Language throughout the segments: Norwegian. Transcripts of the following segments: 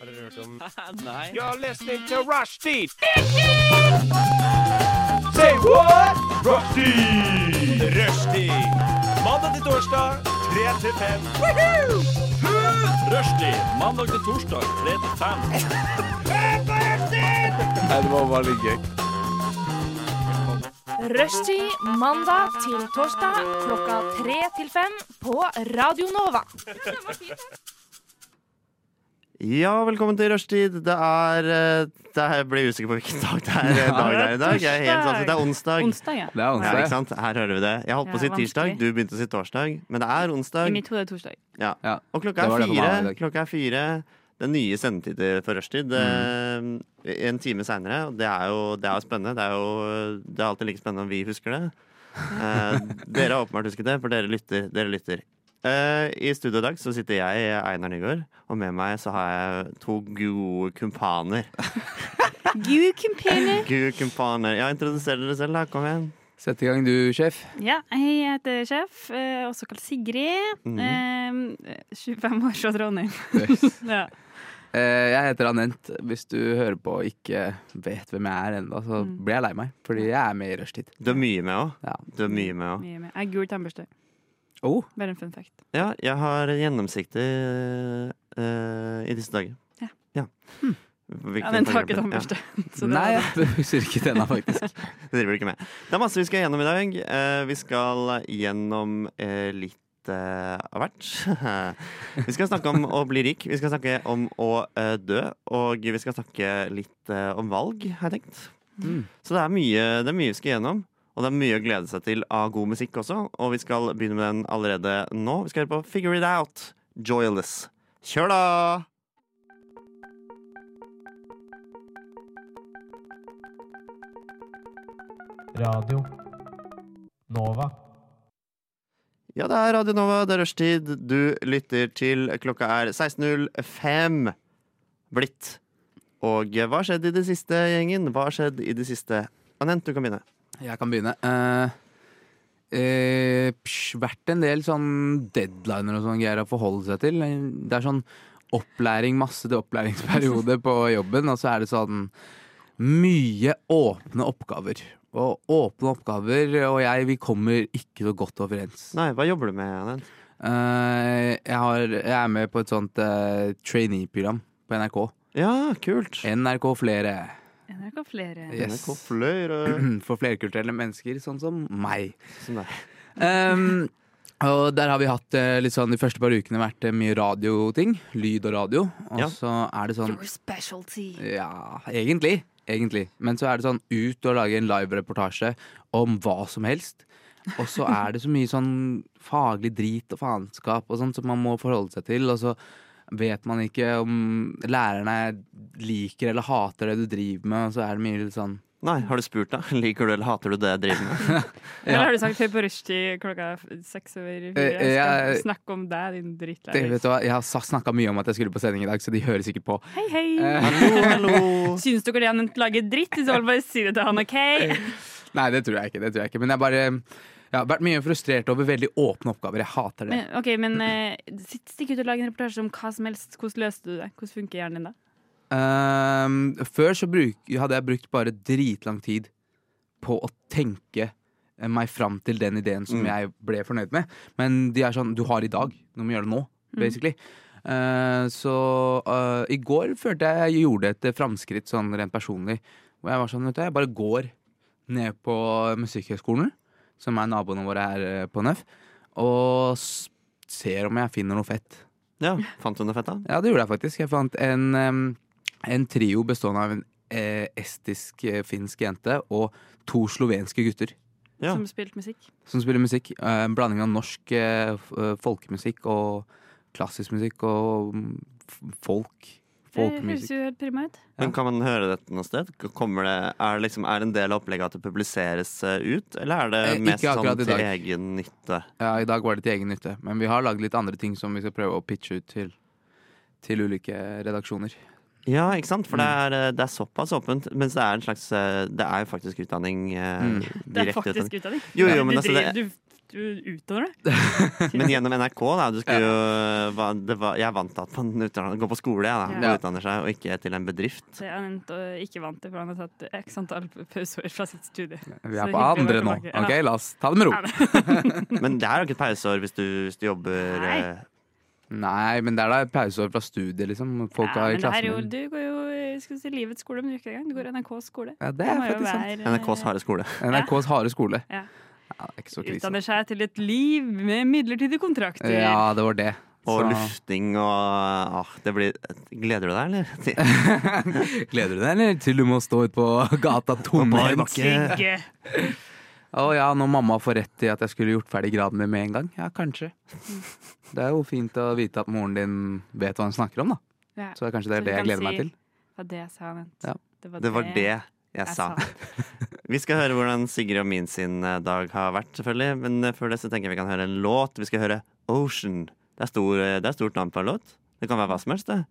Har dere hørt om Nei. You're listening to Rushdie. Say what? Rushdie. Rushdie. Mandag til torsdag, 3 til 5. Rushdie. Mandag til torsdag, 3 til 5. Nei, det var bare litt gøy. Rushtid mandag til torsdag klokka tre til fem på Radio Nova. Ja, velkommen til rushtid. Det er eh, det er, Jeg blir usikker på hvilken dag det er. eh, Dag det er i dag. Jeg er helt satt ut. Det er onsdag. Onsdag, ja. Det er Ja, ikke onsdag. sant? Her hører vi det. Jeg holdt på å si Ja, tirsdag, vanskelig. du begynte å si torsdag. Men det er I onsdag. mitt hode er det torsdag. Ja. Ja. Og klokka Det var er det for meg fire. i dag. Klokka er fire. Det er nye sendetider for rushtid. Mm. eh, En time seinere. Og det er jo det er jo spennende. Det er jo det er alltid like spennende om vi husker det. Eh, dere har åpenbart husket det, for dere lytter. Dere lytter. Eh, I studio i dag så sitter jeg, Einar Nygaard, og med meg så har jeg to gode kumpaner. Gud, kumpiner. Gode kumpaner. Ja, introduser dere selv, da. Kom igjen. Sett i gang du, sjef. Ja, jeg heter sjef, eh, også kalt Sigrid. Mhm. Eh, 25 år fra Trondheim. ja. Eh, Jeg heter Anent. Hvis du hører på og ikke vet hvem jeg er ennå, så blir jeg lei meg. Fordi jeg er med i rushtid. Du er mye med òg. Ja. Du er mye med òg. Mye mer. Jeg er gul tannbørste. Oh, Bare en fun fact. Ja, jeg har gjennomsiktig eh, i disse dager. Ja. Hm. Hvilken Ja, den tar farge ikke blir det? tannbørste. Så det nei, var- jeg husker ikke denne, faktisk. Ja, det driver vi ikke med. Det er masse vi skal gjennom i dag. Eh, vi skal gjennom eh, litt eh, av hvert. vi skal snakke om å bli rik, vi skal snakke om å eh, dø, og vi skal snakke litt eh, om valg, har jeg tenkt. Mm. Så det er, mye, det er mye vi skal gjennom. Og det er mye å glede seg til av god musikk også. Og vi skal begynne med den allerede nå. Vi skal høre på Figure It Out, Joyless. Kjør, da! Radio Nova. Ja, det er Radio Nova, det er rushtid. Du lytter til klokka er 16.05 blitt. Og hva har skjedd i det siste, gjengen? Hva har skjedd i det siste? Anent, du kan begynne. Jeg kan begynne. Eh, eh, psh, vært en del sånn deadliner og sånn greier å forholde seg til. Det er sånn opplæring, masse til opplæringsperiode på jobben, og så er det sånn mye åpne oppgaver. Og åpne oppgaver og jeg, vi kommer ikke så godt overens. Nei, hva jobber du med, Anent? Eh, jeg, har, jeg er med på et sånt eh, trainee-program på NRK. Ja, kult. NRK Flere. NRK flere. Yes. NRK Fløyre. Sånn For flerkulturelle mennesker, sånn som meg. Som deg. Ehm, og der har vi hatt eh, litt sånn de første par ukene vært eh, mye radioting. Lyd og radio. Og Ja. så er det sånn Your specialty. Ja, egentlig. Egentlig. Men så er det sånn ut og lage en live-reportasje om hva som helst. Og så er det så mye sånn faglig drit og faenskap og sånt som man må forholde seg til. Og så vet man ikke om lærerne liker eller hater det du driver med, og så er det mye litt sånn Nei, har du spurt, da? Liker du eller hater du det jeg driver med? Eller har du sagt høy på rushtid klokka f- seks over fire? Eh, eh, Jeg jeg- skal snakke om deg, din drittlærer. det, vet du hva, Jeg har snakka mye om at jeg skulle på sending i dag, så de hører sikkert på. Hei, hei. Eh, Hallo, hallo. Syns dere det han lager dritt? I så fall bare si det til han, OK? Eh. Nei, det tror jeg ikke. det tror jeg ikke Men jeg bare jeg har vært mye frustrert over veldig åpne oppgaver. Jeg hater det. Men, ok, men eh, sitt- stikk ut og lag en reportasje om hva som helst. Hvordan løste du det? Hvordan funker hjernen din da? Ehm, før så bruk, hadde jeg brukt bare dritlang tid på å tenke eh, meg fram til den ideen som Mm. jeg ble fornøyd med. Men de er sånn Du har i dag. Du må gjøre det nå, basically. Eh, så eh, i går følte jeg jeg gjorde et framskritt sånn rent personlig. Hvor jeg var sånn, vet du, jeg bare går ned på Musikkhøgskolen, som er naboene våre her eh, på NØF, og s ser om jeg finner noe fett. Ja, fant du noe fett, da? Ja, det gjorde jeg faktisk. Jeg fant en, em, en trio bestående av en eh, estisk eh, finsk jente og to slovenske gutter Ja. Som spilte musikk? som spiller musikk. Eh, En blanding av norsk eh, f- eh, folkemusikk og klassisk musikk og mm, f- folk. Det høres Folkemusikk. jo helt prima ut. Men kan man høre dette noe sted? Kommer det, er, det liksom, er det en del av opplegget at det publiseres eh, ut, eller er det Eh, ikke mest sånn akkurat i til dag. egen nytte? Ja, I dag var det til egen nytte, men vi har lagd litt andre ting som vi skal prøve å pitche ut til, til ulike redaksjoner. Ja, ikke sant? For det, er, eh, det er såpass åpent, mens det er en slags eh, Det er jo faktisk utdanning eh, Mm. Det er direkte. utdanning. faktisk utdanning. Jo, jo, Du men altså, driver- det, du, du u- utover det. Men gjennom NRK, da. Du skulle jo hva- det var, Jeg er vant til at man utdanner, går på skole jeg, da, og Ja. utdanner seg, og ikke til en bedrift. Så jeg er en- og ikke vant til, for han har tatt x antall pauseår fra sitt studie. Vi er Så på hyggelig andre å nå. være tilbake. Ok, La oss ta det med ro. Men det er jo ikke et pauseår hvis du, hvis du jobber Nei. eh, Nei, men det er da et pauseår fra studiet, liksom. Folk ja, har i men det her er jo, klassen min. du går jo eh, skal vi si, livets skole, men du gjør ikke det engang. Du går NRKs skole. Ja, det Du er må jo faktisk sant. være, eh, NRKs harde skole. NRKs harde skole. Ja. Ja, det er ikke så krise. Utdanner seg til et liv med midlertidige kontrakter. Ja, det var det. Og Så- lufting og ah, det blir, Gleder du deg, eller? Til- Gleder du deg eller? til du må stå ute på gata bar tomhendt? bakke. Ikke. Å ja, når mamma får rett i at jeg skulle gjort ferdig graden min med en gang. Ja, kanskje. Mm. Det er jo fint å vite at moren din vet hva hun snakker om, da. Ja. Så kanskje det Så er du det jeg kan gleder meg si- til. Det var det jeg sa, vent. Ja. Det var det jeg sa. Vi skal høre hvordan Sigrid og min sin eh, dag har vært, selvfølgelig. Men eh, før det så tenker jeg vi kan høre en låt. Vi skal høre Ocean. Det er, stor, eh, det er stort navn på en låt. Det kan være hva som helst, det.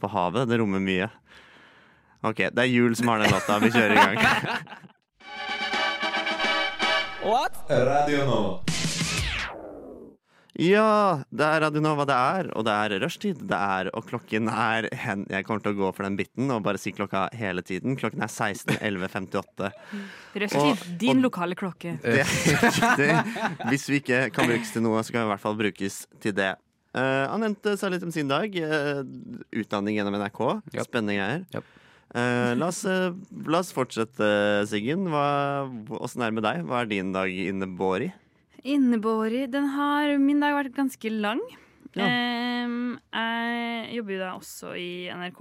På havet. Det rommer mye. OK, det er Jul som har den låta. Vi kjører i gang. Radio Nova. Ja, det er Radio Nova det er, og det er rushtid. Det er, og klokken er hen. Jeg kommer til å gå for den biten og bare si klokka hele tiden. Klokken er 16.11.58. Rushtid, din lokale klokke. Det Eh, er helt riktig. Hvis vi ikke kan brukes til noe, så kan vi i hvert fall brukes til det. Eh, han nevnte seg litt om sin dag. eh, utdanning gjennom NRK. Japp. Spennende greier. Japp. Eh, la, oss, eh, la oss fortsette, Siggen. Hva- Åssen er det med deg? Hva er din dag innebåret i? Innebåri, den har Min dag har vært ganske lang. Ja. Ehm, jeg jobber jo da også i NRK.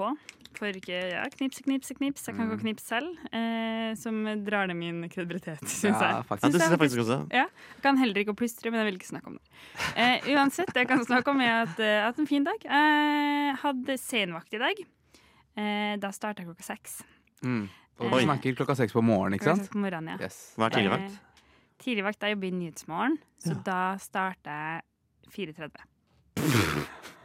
For ikke ja, knipse, knipse, knips. Jeg kan gå og knipse selv. eh, som drar ned min kredibilitet, syns Ja, jeg. Ja, faktisk. det Synes syns jeg jeg faktisk også. Jeg kan heller ikke å plystre, men jeg vil ikke snakke om det. Eh, uansett, det jeg kan snakke om, er at eh, jeg har hatt en fin dag. Jeg hadde senvakt i dag. Eh, da starta jeg klokka seks. Mm. Og Oi. du snakker klokka seks på morgenen, ikke Eh. Klokka sant? seks På morgenen, ja. Yes. Hva er tidligvakt? Eh, tidligvakt, da jobber jeg i Nyhetsmorgen, så da starter jeg 4.30.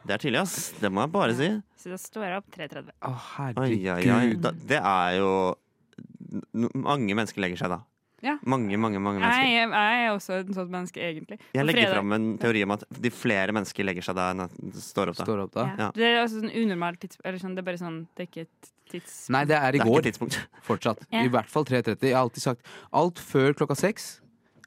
Det er tidlig, ass. Det må jeg bare si. Så da står jeg opp 3.30. Å, Oi, oi, oi. herregud. Da, det er jo n- Mange mennesker legger seg da. Ja. Mange, mange, mange Jeg, mennesker. er- jeg er også et sånt menneske, egentlig. På Jeg legger fredag- fram en teori om at de flere mennesker legger seg da enn at de står opp da. Står opp da. ja. Ja. Det er altså sånn unormalt tids... Eller sånn, det er bare sånn Det er ikke et tids... Nei, det er Det i er ikke går et tidspunkt. fortsatt. Ja. I hvert fall 3.30. Jeg har alltid sagt alt før klokka seks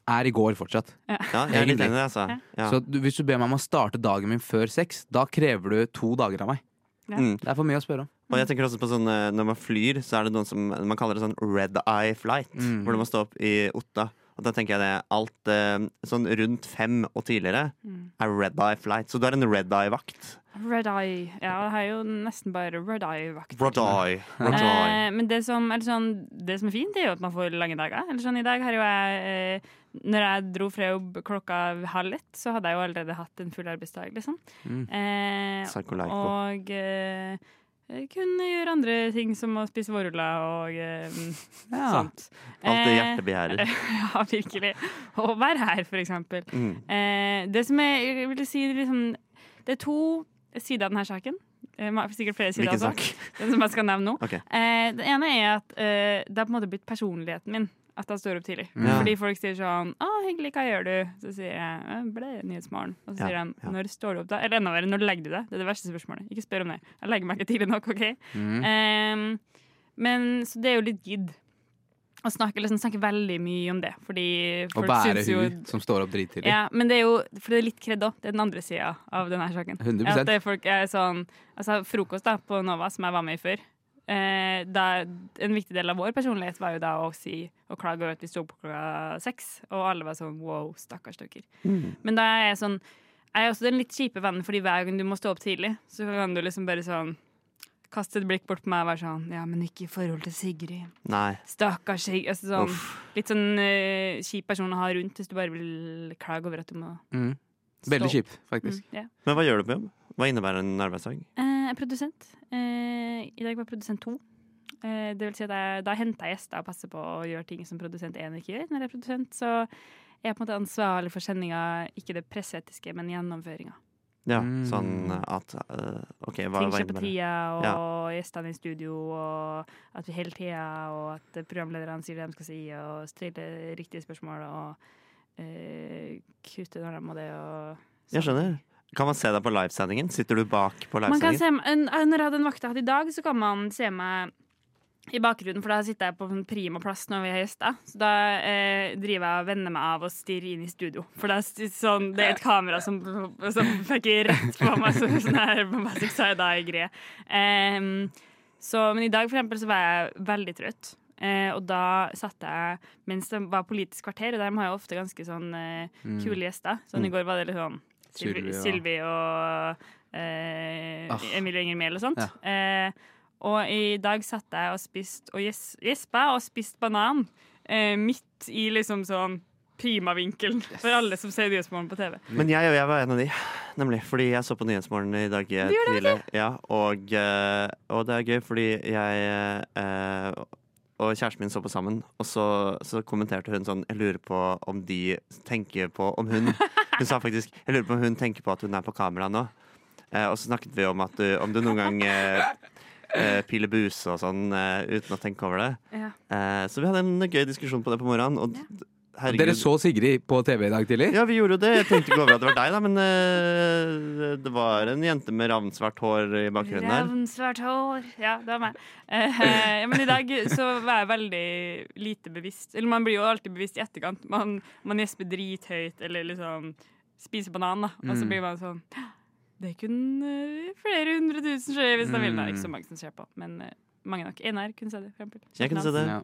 er i går fortsatt. Ja, jeg er litt Egentlig. enig i det, altså. Ja. Så du, hvis du ber meg om å starte dagen min før seks, da krever du to dager av meg. Ja. Mm. Det er for mye å spørre om. Og jeg tenker også på sånn eh, når man flyr, så er det noen som Man kaller det sånn red eye flight, Mm. hvor du må stå opp i Otta. Og da tenker jeg det alt eh, sånn rundt fem og tidligere Mm. er red eye flight. Så du er en red eye-vakt. Red eye. Ja, jeg har jo nesten bare red eye-vakt. Red eye. Red eye. Eh, men det som, eller sånn, det som er fint, det er jo at man får lange dager. Eller sånn, I dag har jo jeg eh, Når jeg dro fra jobb klokka halv ett, så hadde jeg jo allerede hatt en full arbeidsdag, liksom. Mm. Eh, Psycho-like. og eh, kunne gjøre andre ting, som å spise vårruller og eh, Ja. sånt. Alt det Eh, hjertet begjærer. ja, virkelig. Og være her, for eksempel. Mm. Eh, det som er, jeg vil si, liksom, det er to sider av denne saken. Eh, ma- sikkert flere sider Hvilken også. sak? Den som jeg skal nevne nå. Ok. Eh, det ene er at eh, det har på en måte blitt personligheten min at jeg står opp tidlig. Mm. Ja. Fordi folk sier sånn 'Å, hyggelig, hva gjør du?' Så sier jeg «Eh, 'Ble Nyhetsmorgen'. Og så Ja, sier de ja. 'Når står du opp, da?' Eller enda verre, 'Når legger du deg?' Det er det verste spørsmålet. Ikke spør om det. Jeg legger meg ikke tidlig nok, OK? Mm. Ehm, men så det er jo litt gidd. Å snakke, liksom, snakke veldig mye om det. Fordi Og folk bære syns jo hun som står opp drittidlig. ja, men det er jo for det er litt kredd òg. Det er den andre sida av denne saken. 100%. At det er folk er sånn Altså, frokost da på Nova, som jeg var med i før eh, da, En viktig del av vår personlighet var jo da å si og klage over at vi sto opp klokka seks, og alle var sånn wow, stakkars dere. Mm. Men da er jeg sånn Jeg er også den litt kjipe vennen, fordi hver gang du må stå opp tidlig, så kan du liksom bare sånn Kaste et blikk bort på meg og være sånn Ja, men ikke i forhold til Sigrid. Nei. Stakkars Sigrid. Altså sånn, Uff. litt sånn eh, kjip person å ha rundt hvis du bare vil klage over at du må Mm. Veldig Stopp. kjipt, faktisk. Mm, ja. Men hva gjør du på jobb? Hva innebærer en arbeidsdag? Eh, produsent. Eh, I dag var jeg produsent to. Eh, det vil si at jeg, da henter jeg gjester og passer på å gjøre ting som produsent én ikke gjør. Når jeg er produsent, så er jeg på en måte ansvarlig for sendinga, ikke det presseetiske, men gjennomføringa. Ja, Mm. sånn at eh, OK, hva, hva Ting skjer på innebærer det? tida, og gjestene i studio, og at vi hele tida, og at programlederne sier det de skal si, og stiller riktige spørsmål, og eh, kutte når de må det og Jeg skjønner. Kan man se deg på livesendingen? Sitter du bak på Man kan livesendingen? se meg, en- eh, Når jeg hadde den vakta jeg hadde i dag, så kan man se meg i bakgrunnen, for da sitter jeg på en prima plass når vi har gjester. Så da eh, driver jeg og vender meg av og stirrer inn i studio. For det er, st- sånn, det er et kamera som, som peker rett på meg, så, sånn her på Magic Side-greie. Um, så, men i dag for eksempel, så var jeg veldig trøtt. Eh, og da satt jeg mens det var Politisk kvarter, og der har jeg ofte ganske sånn eh, kule gjester. Sånn i går var det litt sånn Sylvi, Sylvi, ja. Sylvi og eh, Ah. Emilie Enger Mehl og sånt. Eh, og i dag satt jeg og spiste og gjes- gjespa og spiste banan eh, midt i liksom sånn primavinkelen for alle som ser Nyhetsmorgen på TV. Men jeg, jeg var en av de, nemlig. Fordi jeg så på Nyhetsmorgen i dag eh, tidlig. Ja, og, eh, og det er gøy, fordi jeg eh, og kjæresten min så på sammen, og så, så kommenterte hun sånn Jeg lurer på om de tenker på Om hun Hun sa faktisk Jeg lurer på om hun tenker på at hun er på kamera nå. Eh, og så snakket vi om at du, om du noen gang eh, eh, piler buse og sånn eh, uten å tenke over det. Ja. Eh, så vi hadde en gøy diskusjon på det på morgenen. Og d- herregud Dere så Sigrid på TV i dag tidlig? ja, vi gjorde jo det. Jeg tenkte ikke over at det var deg, da, men eh, det var en jente med ravnsvart hår i bakgrunnen her. Ravnsvart hår. Ja, det var meg. Eh, ja, men i dag så var jeg veldig lite bevisst. Eller man blir jo alltid bevisst i etterkant. Man, man gjesper drithøyt eller liksom spiser banan, da. Og så Mm. blir man sånn Det kunne eh, flere hundre tusen skje hvis de vil. Det er ikke så mange som ser på, men eh, mange nok. Einar kunne se det, for eksempel. Mm. Jeg kunne se det. Ja.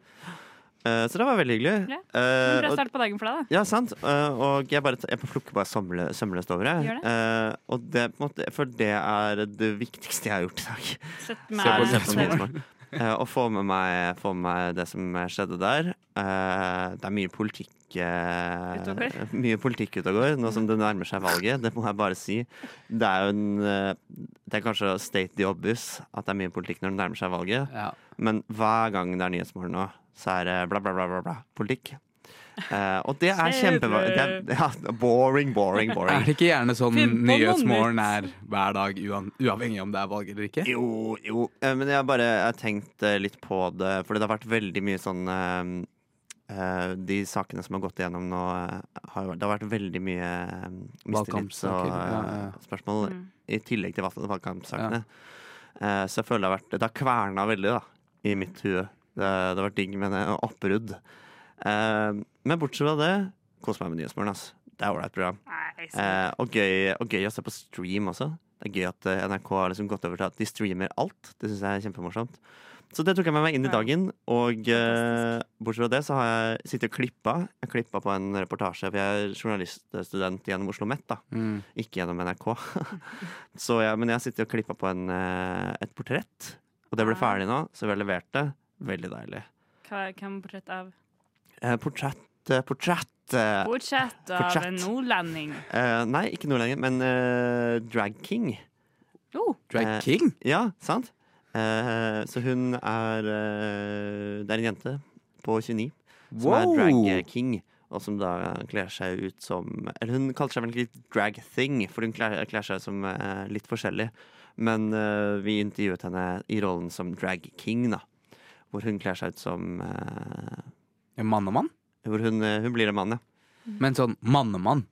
Eh, så det var veldig hyggelig. Ja. Eh, Bra og, start på dagen for deg, da. ja, sant. Eh, og jeg bare jeg plukker bare sømle- sømløst over det. Gjør det. Eh, og det, på en måte, for det er det viktigste jeg har gjort i dag. Sett Se på, meg se på se på. Nyhetsmorgen. Eh, og få med, meg, få med meg det som skjedde der. Eh, det er mye politikk eh, Ut og går. Mye politikk ut og går, nå som det nærmer seg valget. Det må jeg bare si. Det er jo en eh, Det er kanskje å state the obvious at det er mye politikk når det nærmer seg valget, Ja. men hver gang det er Nyhetsmorgen nå, så er det bla, bla, bla, bla, bla politikk. Eh, og det er kjempe... Det er, ja, boring, boring, Er boring. det ikke gjerne sånn Finn på noe Nyhetsmorgen er hver dag, uan, uavhengig om det er valg eller ikke? Jo, jo. Eh, Men jeg har bare jeg har tenkt eh, litt på det, fordi det har vært veldig mye sånn eh, eh, De sakene som har gått igjennom nå, eh, har, jo vært- det har vært veldig mye eh, mistillit og Valgkampsaker, ja, eh, ja, ja. spørsmål, i tillegg til valg- valgkampsakene. Eh, så jeg føler det har vært Det har kverna veldig, da, i mitt hue. Det, det har vært digg med det oppbrudd. Eh, men bortsett fra det, kos meg med Nyhetsmorgen, ass. Det er ålreit program. Nei, så- Eh, og, gøy, og gøy å se på stream også. Det er gøy at eh, NRK har liksom gått over til at de streamer alt. Det syns jeg er kjempemorsomt. Så det tok jeg med meg inn i Ja. dagen. Og eh, bortsett fra det så har jeg sittet og klippa. Jeg klippa på en reportasje, for jeg er journaliststudent gjennom Oslo Met, da. Mm. Ikke gjennom NRK. så jeg, men jeg har sittet og klippa på en, eh, et portrett. Og det ble Ja. ferdig nå, så vi har levert det. Veldig deilig. Hva- Hvem portrett av? Eh, portrett, eh, portrett. eh, Portrett av Portrett. en nordlending. eh, nei, ikke noe lenger, men eh, Drag King. Jo. Eh, Drag King? Ja, sant? Eh, så hun er eh, Det er en jente på 29 som er Wow! drag king, og som da kler seg ut som Eller hun kaller seg vel ikke drag thing, for hun kler, kler seg som eh, litt forskjellig. Men eh, vi intervjuet henne i rollen som drag king, da. Hvor hun kler seg ut som eh, En mannemann? Hvor hun, eh, hun blir en mann, ja. Mm. Men sånn mannemann.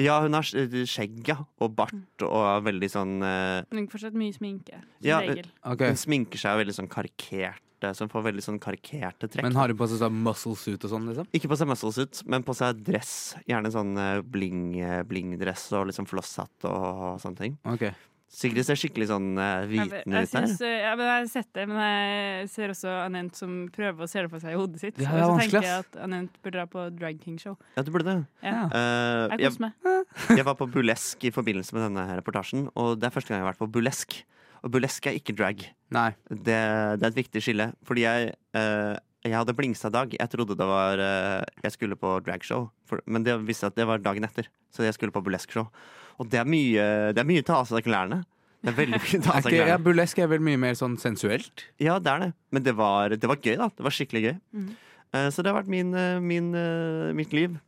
Ja, hun har sk- skjegg ja, og bart og er veldig sånn eh, Men fortsatt mye sminke. Som Ja, regel. Ok. Hun sminker seg veldig sånn karikert, eh, så hun får veldig sånn karikerte trekk. Men har hun på seg sånn muscle suit og sånn, liksom? Ikke på seg muscle suit, men på seg dress. Gjerne sånn eh, bling, eh, bling-dress og liksom flosshatt og sånne ting. Ok. Sigrid ser skikkelig sånn eh, Jeg, hviten jeg, ut der. syns, ja, men jeg har sett det, men jeg ser også Anent som prøver å se det for seg i hodet sitt. Det her er Og så vanskelig, tenker jeg ass. at Anent bør dra på Drag King-show. Ja, du burde det. Ja. Eh, Jeg jeg, koser meg. jeg var på burlesk i forbindelse med denne her reportasjen, og det er første gang jeg har vært på burlesk. Og burlesk er ikke drag. Nei. Det, det er et viktig skille, fordi jeg, eh, jeg hadde blingsa dag. Jeg trodde det var eh, Jeg skulle på dragshow, for, men det viste seg at det var dagen etter. Så jeg skulle på burlesque-show. Og det er mye Det er mye ta av seg klærne. Det er veldig mye ta Er av seg ikke, ja, klærne. burlesk er vel mye mer sånn sensuelt? Ja, det er det. Men det var, det var gøy, da. Det var skikkelig gøy. Eh, Så det har vært min, eh, min, eh, mitt liv.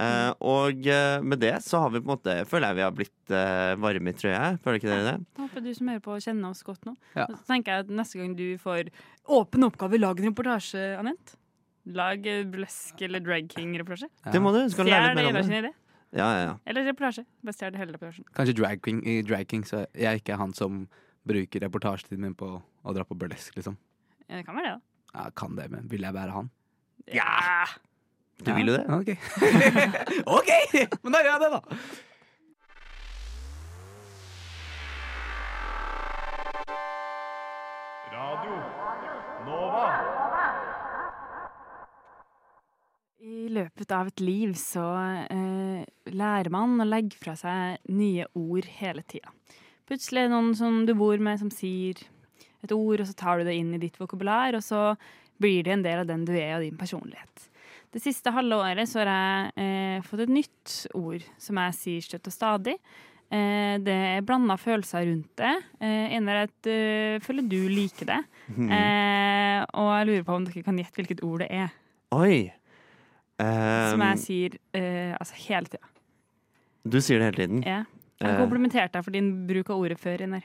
Eh, Og eh, med det så har vi på en måte føler jeg vi har blitt eh, varme i trøya. Føler ikke dere det? Jeg håper du som hører på, kjenner oss godt nå. Ja. Og Så tenker jeg at neste gang du får åpen oppgave, lag en reportasje, Anent. Lag eh, Blesk eller Drag King-reportasje. Det må du. Skal du lære litt Stjel mer om Eva det? sin idé. Ja, ja, ja. Eller reportasje. Bare stjel hele reportasjen. Kanskje drag king, i drag king, så jeg ikke er han som bruker reportasjetiden min på å dra på burlesk, liksom. Ja, Eh, Det kan være det, Ja, kan det, men vil jeg være han? da. Ja! Du vil jo det. Ja, ok. ok! Men da gjør jeg det, da. Radio Nova. I løpet av et liv så eh, lærer man å legge fra seg nye ord hele tida. Plutselig er det noen som du bor med, som sier et ord, og så tar du det inn i ditt vokabular, og så blir det en del av den du er, og din personlighet. Det siste halve året så har jeg eh, fått et nytt ord som jeg sier støtt og stadig. Eh, det er blanda følelser rundt det. Eh, Einar, jeg eh, føler du liker det. Eh, og jeg lurer på om dere kan gjette hvilket ord det er. Oi! Eh, Som jeg sier eh, altså hele tida. du sier det hele tiden. Ja. Eh. Jeg komplimenterte deg for din bruk av ordet før. Einar.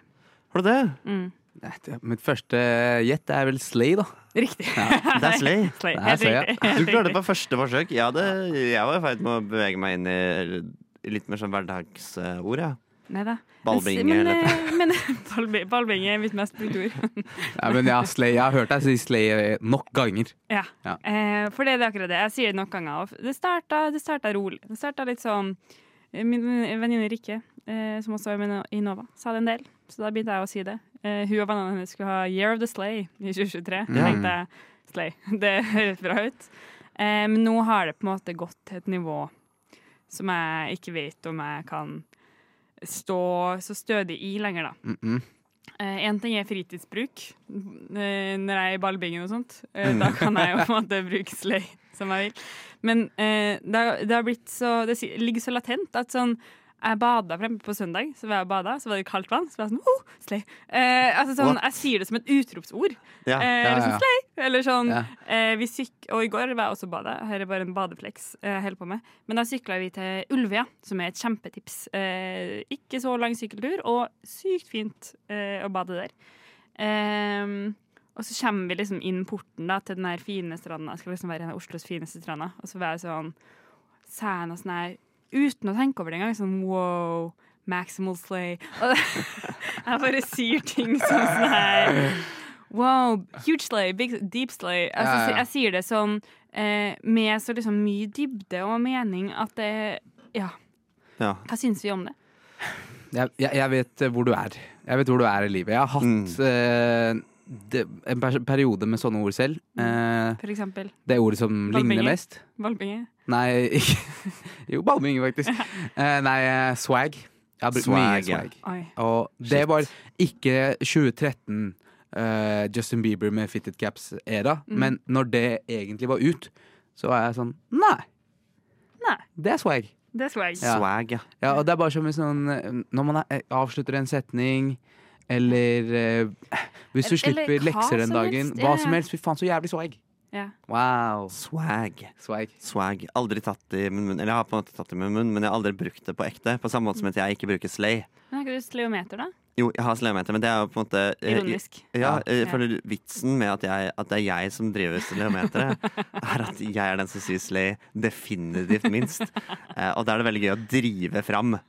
Har du det? Mm. Nei, det- Mitt første gjett er vel Slay, da. Riktig. Det er slay. Slay. Det her Helt ser jeg. riktig. Du Helt klarte det riktig. på første forsøk. Ja, det, jeg var i ferd med å bevege meg inn i litt mer sånn hverdagsord, ja. Neida. Ballbinge Men, eller- eh, men, ballbi- ballbinge er mitt mest brukte ord. Ja, men ja, slay. Jeg har hørt deg si Slay eh, nok ganger. Ja. Ja. Eh, for det er akkurat det. Jeg sier det nok ganger. og Det starta, det starta rolig. Det starta litt sånn eh, Min venninne Rikke, eh, som også er med nå- i Nova, sa det en del. Så da begynte jeg å si det. Eh, hun og vennene hennes skulle ha Year of the Slay i 2023. Da Ja. tenkte jeg Slay. Det høres bra ut. Eh, men nå har det på en måte gått til et nivå som jeg ikke vet om jeg kan stå så stødig i lenger, da. Mm -mm. Én Eh, ting er fritidsbruk. Eh, Når jeg er i ballbingen og sånt, eh, da kan jeg jo på en måte bruke sløy som jeg vil. Men eh, det, har- det har blitt så Det si- ligger så latent at sånn jeg bada fremme på søndag, så var jeg og bada, så var det kaldt vann. Så var jeg sånn, oh, slay. Eh, altså sånn, What? Jeg sier det som et utropsord. ja. Eh, ja, liksom ja. slay. Eller sånn Ja. eh, vi syk Og i går var jeg også bada. Her er bare en badefleks eh, jeg holder på med. Men da sykla vi til Ulvia, som er et kjempetips. Eh, ikke så lang sykkeltur, og sykt fint eh, å bade der. Ehm, og så kommer vi liksom inn porten da, til den her fine stranda. Skal liksom være en av Oslos fineste stranda. Og så var jeg sånn Sæna sånn her Uten å tenke over det engang. Sånn wow, Maximal Slay. Og det, jeg bare sier ting som sånn her Wow, huge slay, big, deep slay. Altså, Ja, ja. Jeg sier det sånn eh, med så liksom mye dybde og mening at det Ja, ja. hva syns vi om det? Jeg, jeg, jeg vet eh, hvor du er. Jeg vet hvor du er i livet. Jeg har Mm. hatt eh, det, en per periode med sånne ord selv. Eh, For eksempel det ordet som Ballbinger. ligner mest. valpinge. Nei, ikke Jo, ballbinge, faktisk. Eh, nei, eh, swag. Jeg har brukt mye Swag, ja. swag. Oi. Og det var ikke 2013, eh, Justin Bieber med fitted caps-æra, Mm. men når det egentlig var ut, så var jeg sånn Nei, Nei, det er swag. det er swag. Ja. Swag, ja. Ja, og det er bare som en sånn eh, Når man er, avslutter en setning, eller eh, Hvis du Eller- slipper eller hva lekser den som dagen, helst, hva ja, ja. som helst. Fy faen, så jævlig swag. Ja. Wow. Swag. Swag. Swag. Aldri tatt i min munn. Eller jeg har på en måte tatt det i min munn, men jeg har aldri brukt det på ekte. På samme måte som at jeg ikke bruker slay. Men har ikke du sleometer, da? Jo, jeg har sleometer, men det er jo på en måte eh, Ironisk. Ja, eh, Ja. for vitsen med at, jeg, at det er jeg som driver Stileometeret, er at jeg er den som sier slay definitivt minst. Eh, og da er det veldig gøy å drive fram.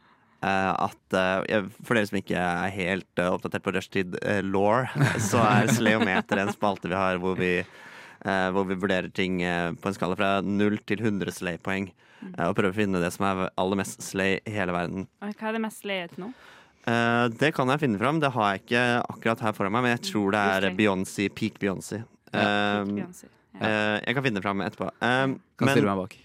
eh, at eh, jeg- For dere som ikke er helt eh, oppdatert på rushtid-law, så er Sleometer en spalte vi har hvor vi, eh, hvor vi vurderer ting eh, på en skala fra 0 til 100 slay-poeng. eh, og prøver å finne det som er aller mest slay i hele verden. Oi, Hva er det mest sleete nå? Eh, det kan jeg finne fram. Det har jeg ikke akkurat her foran meg, men jeg tror det er Husker jeg. Beyoncé, peak Beyoncé. Eh, Um, Ikke Beyoncé. Ja. eh, jeg kan finne det fram etterpå. Eh, Kan men, stille meg bak.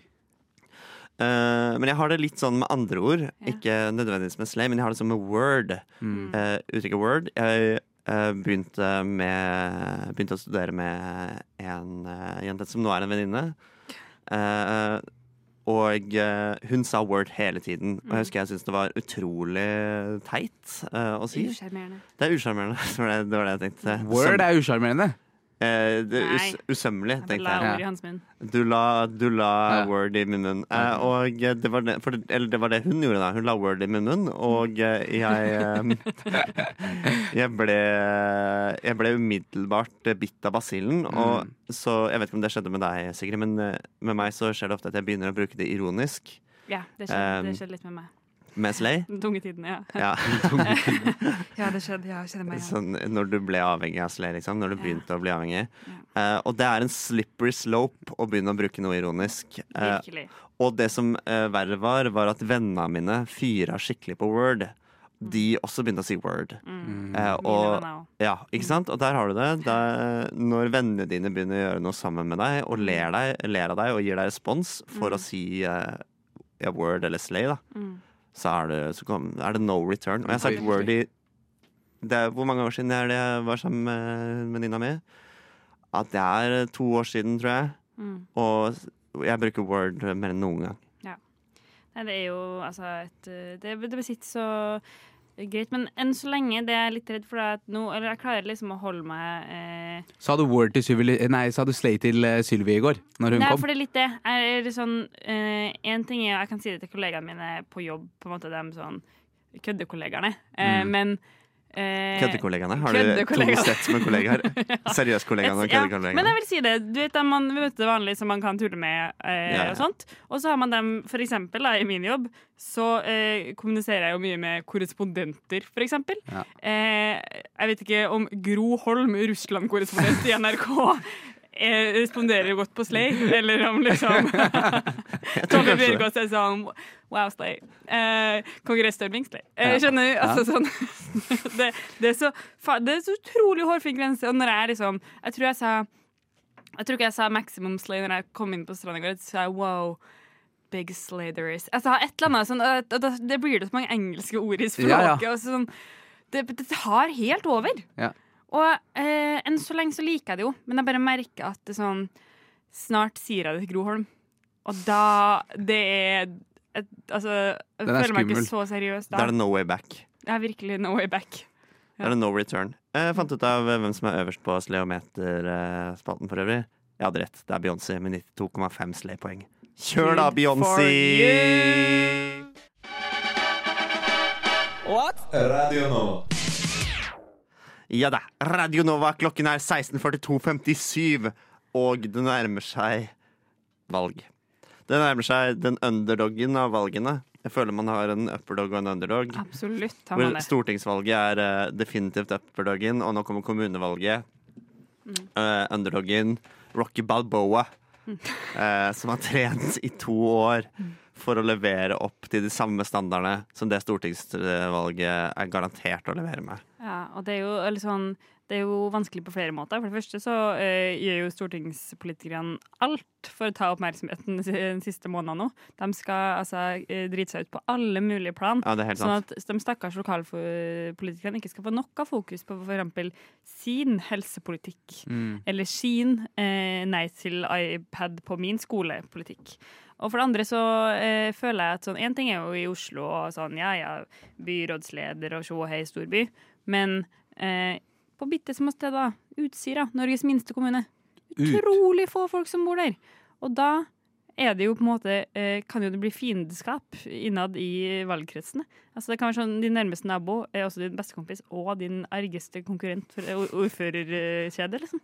eh, men jeg har det litt sånn med andre ord. Ikke nødvendigvis med slay, men jeg har det sånn med word. Mm. Mm. Eh, uttrykket word. Jeg eh, begynte, med, begynte å studere med en eh, jente som nå er en venninne. Eh, og eh, hun sa word hele tiden. Og Mm. jeg husker jeg syntes det var utrolig teit eh, å si. Usjarmerende. Det er usjarmerende. Det var det, det var det jeg tenkte. Word Som, er usjarmerende. Eh, det er us Nei. usømmelig, Jeg tenkte la jeg. ord i hans munn. Du la, du la Ja. word i min munn. Eh, og eh, det var det, for, eller det var det hun gjorde, da. Hun la word i min munn, og eh, jeg eh, Jeg ble Jeg ble umiddelbart bitt av basillen. Mm. Og så Jeg vet ikke om det skjedde med deg, Sigrid, men eh, med meg så skjer det ofte at jeg begynner å bruke det ironisk. Ja, det skjedde, det Um, skjedde litt med meg. Med slay. Den tunge tiden, ja. Ja. Ja, det skjedde. Ja, jeg kjenner meg igjen. Sånn, når du ble avhengig av slay, liksom. Når du Ja. begynte å bli avhengig. Eh, og det er en slippery slope å begynne å bruke noe ironisk. Eh, Virkelig. Og det som eh, verre var, var at vennene mine fyra skikkelig på Word. De også begynte å si Word. Mm. Eh, Mm. Mine og, venner også. ja, ikke sant? og der har du det. Der, når vennene dine begynner å gjøre noe sammen med deg, Mm. og ler, deg, ler av deg og gir deg respons for å si eh, ja, Word eller Slay, da, Mm. så, er det, så kom, er det no return. Og jeg har sagt Virkelig. Word i det er, Hvor mange år siden er det jeg var sammen med venninna mi? At det er eh, to år siden, tror jeg. Mm. Og jeg bruker Word mer enn noen gang. Nei, det er jo altså et eh, Det, det besitter så greit. Men enn så lenge det er jeg litt redd for, er at nå Eller jeg klarer liksom å holde meg eh, Sa du Word til Sylvi Nei, sa du Slay til eh, Sylvi i går? Når hun Nei, kom? for det er litt det. Jeg er litt sånn, eh, en ting er, Jeg kan si det til kollegaene mine på jobb, på en måte de sånn køddekollegaene, eh, Mm. men eh, Køddekollegaene? Har du to køddekollegaer. sett med kollegaer? Seriøskollegaene og Ja, men køddekollegaene? jeg vil si det. Du vet, de man møter vanlig som man kan tulle med, eh, Ja, ja. og sånt. Og så har man dem, for eksempel, da, i min jobb, så eh, kommuniserer jeg jo mye med korrespondenter, for eksempel. Ja. Eh, jeg vet ikke om Gro Holm, Russland-korrespondent i NRK, eh, responderer godt på Slay, eller om liksom Jeg tror kanskje Tove det. Bjørgaas er sånn Wow, Slay. Eh, Kongressdøvling, Slay. Eh, Ja. skjønner du? Altså, sånn, det, det, er så, fa- det er så utrolig hårfin grense. Og når jeg liksom Jeg tror jeg sa Jeg tror ikke jeg sa maximum slay når jeg kom inn på stranda i går. Så sa jeg wow. Big slay there is. Altså, et eller annet sånn, og da- Det blir det så mange engelske ord i språket. Ja, Og sånn, det, det tar helt over. Ja. Og eh, enn så lenge så liker jeg det jo, men jeg bare merker at det sånn Snart sier jeg det til Groholm. Og da Det er et, Altså, jeg Den er føler meg ikke så skummel. seriøs Da da. er det no way back. Det er virkelig no way back. Da er det no return. Eh, Jeg fant ut av hvem som er øverst på sleometerspalten for øvrig. Jeg hadde rett. Det er Beyoncé med 92,5 slepoeng. Kjør da, Good for Beyoncé! Radio Nova. Ja da. Radio Nova, klokken er 16.42,57, og det nærmer seg valg. Det nærmer seg den underdoggen av valgene. Jeg føler man har en upperdog og en underdog. Absolutt. Har Hvor man det. stortingsvalget er eh, definitivt upperdoggen, og nå kommer kommunevalget. Mm. Eh, underdoggen Rocky Balboa, eh, som har trent i to år for å levere opp til de samme standardene som det stortingsvalget er garantert å levere med. Ja, og det er jo eller sånn det er jo vanskelig på flere måter. For det første så eh, gjør jo stortingspolitikerne alt for å ta oppmerksomheten den siste måneden nå. De skal altså eh, drite seg ut på alle mulige plan. Ja, det er helt Sånn sant. at de stakkars lokalpolitikerne ikke skal få nok av fokus på f.eks. sin helsepolitikk. Mm. Eller sin eh, nei til iPad på min skole-politikk. Og for det andre så eh, føler jeg at sånn Én ting er jo i Oslo og sånn, ja ja, byrådsleder og sjå og hei, storby. Men eh, på bitte små steder, Utsira, Norges minste kommune. Utrolig få folk som bor der. Og da er det jo på en måte, eh, kan jo det bli fiendeskap innad i valgkretsene. Altså det kan være sånn, Din nærmeste nabo er også din bestekompis og din argeste konkurrent for eh, ordførerkjede. liksom.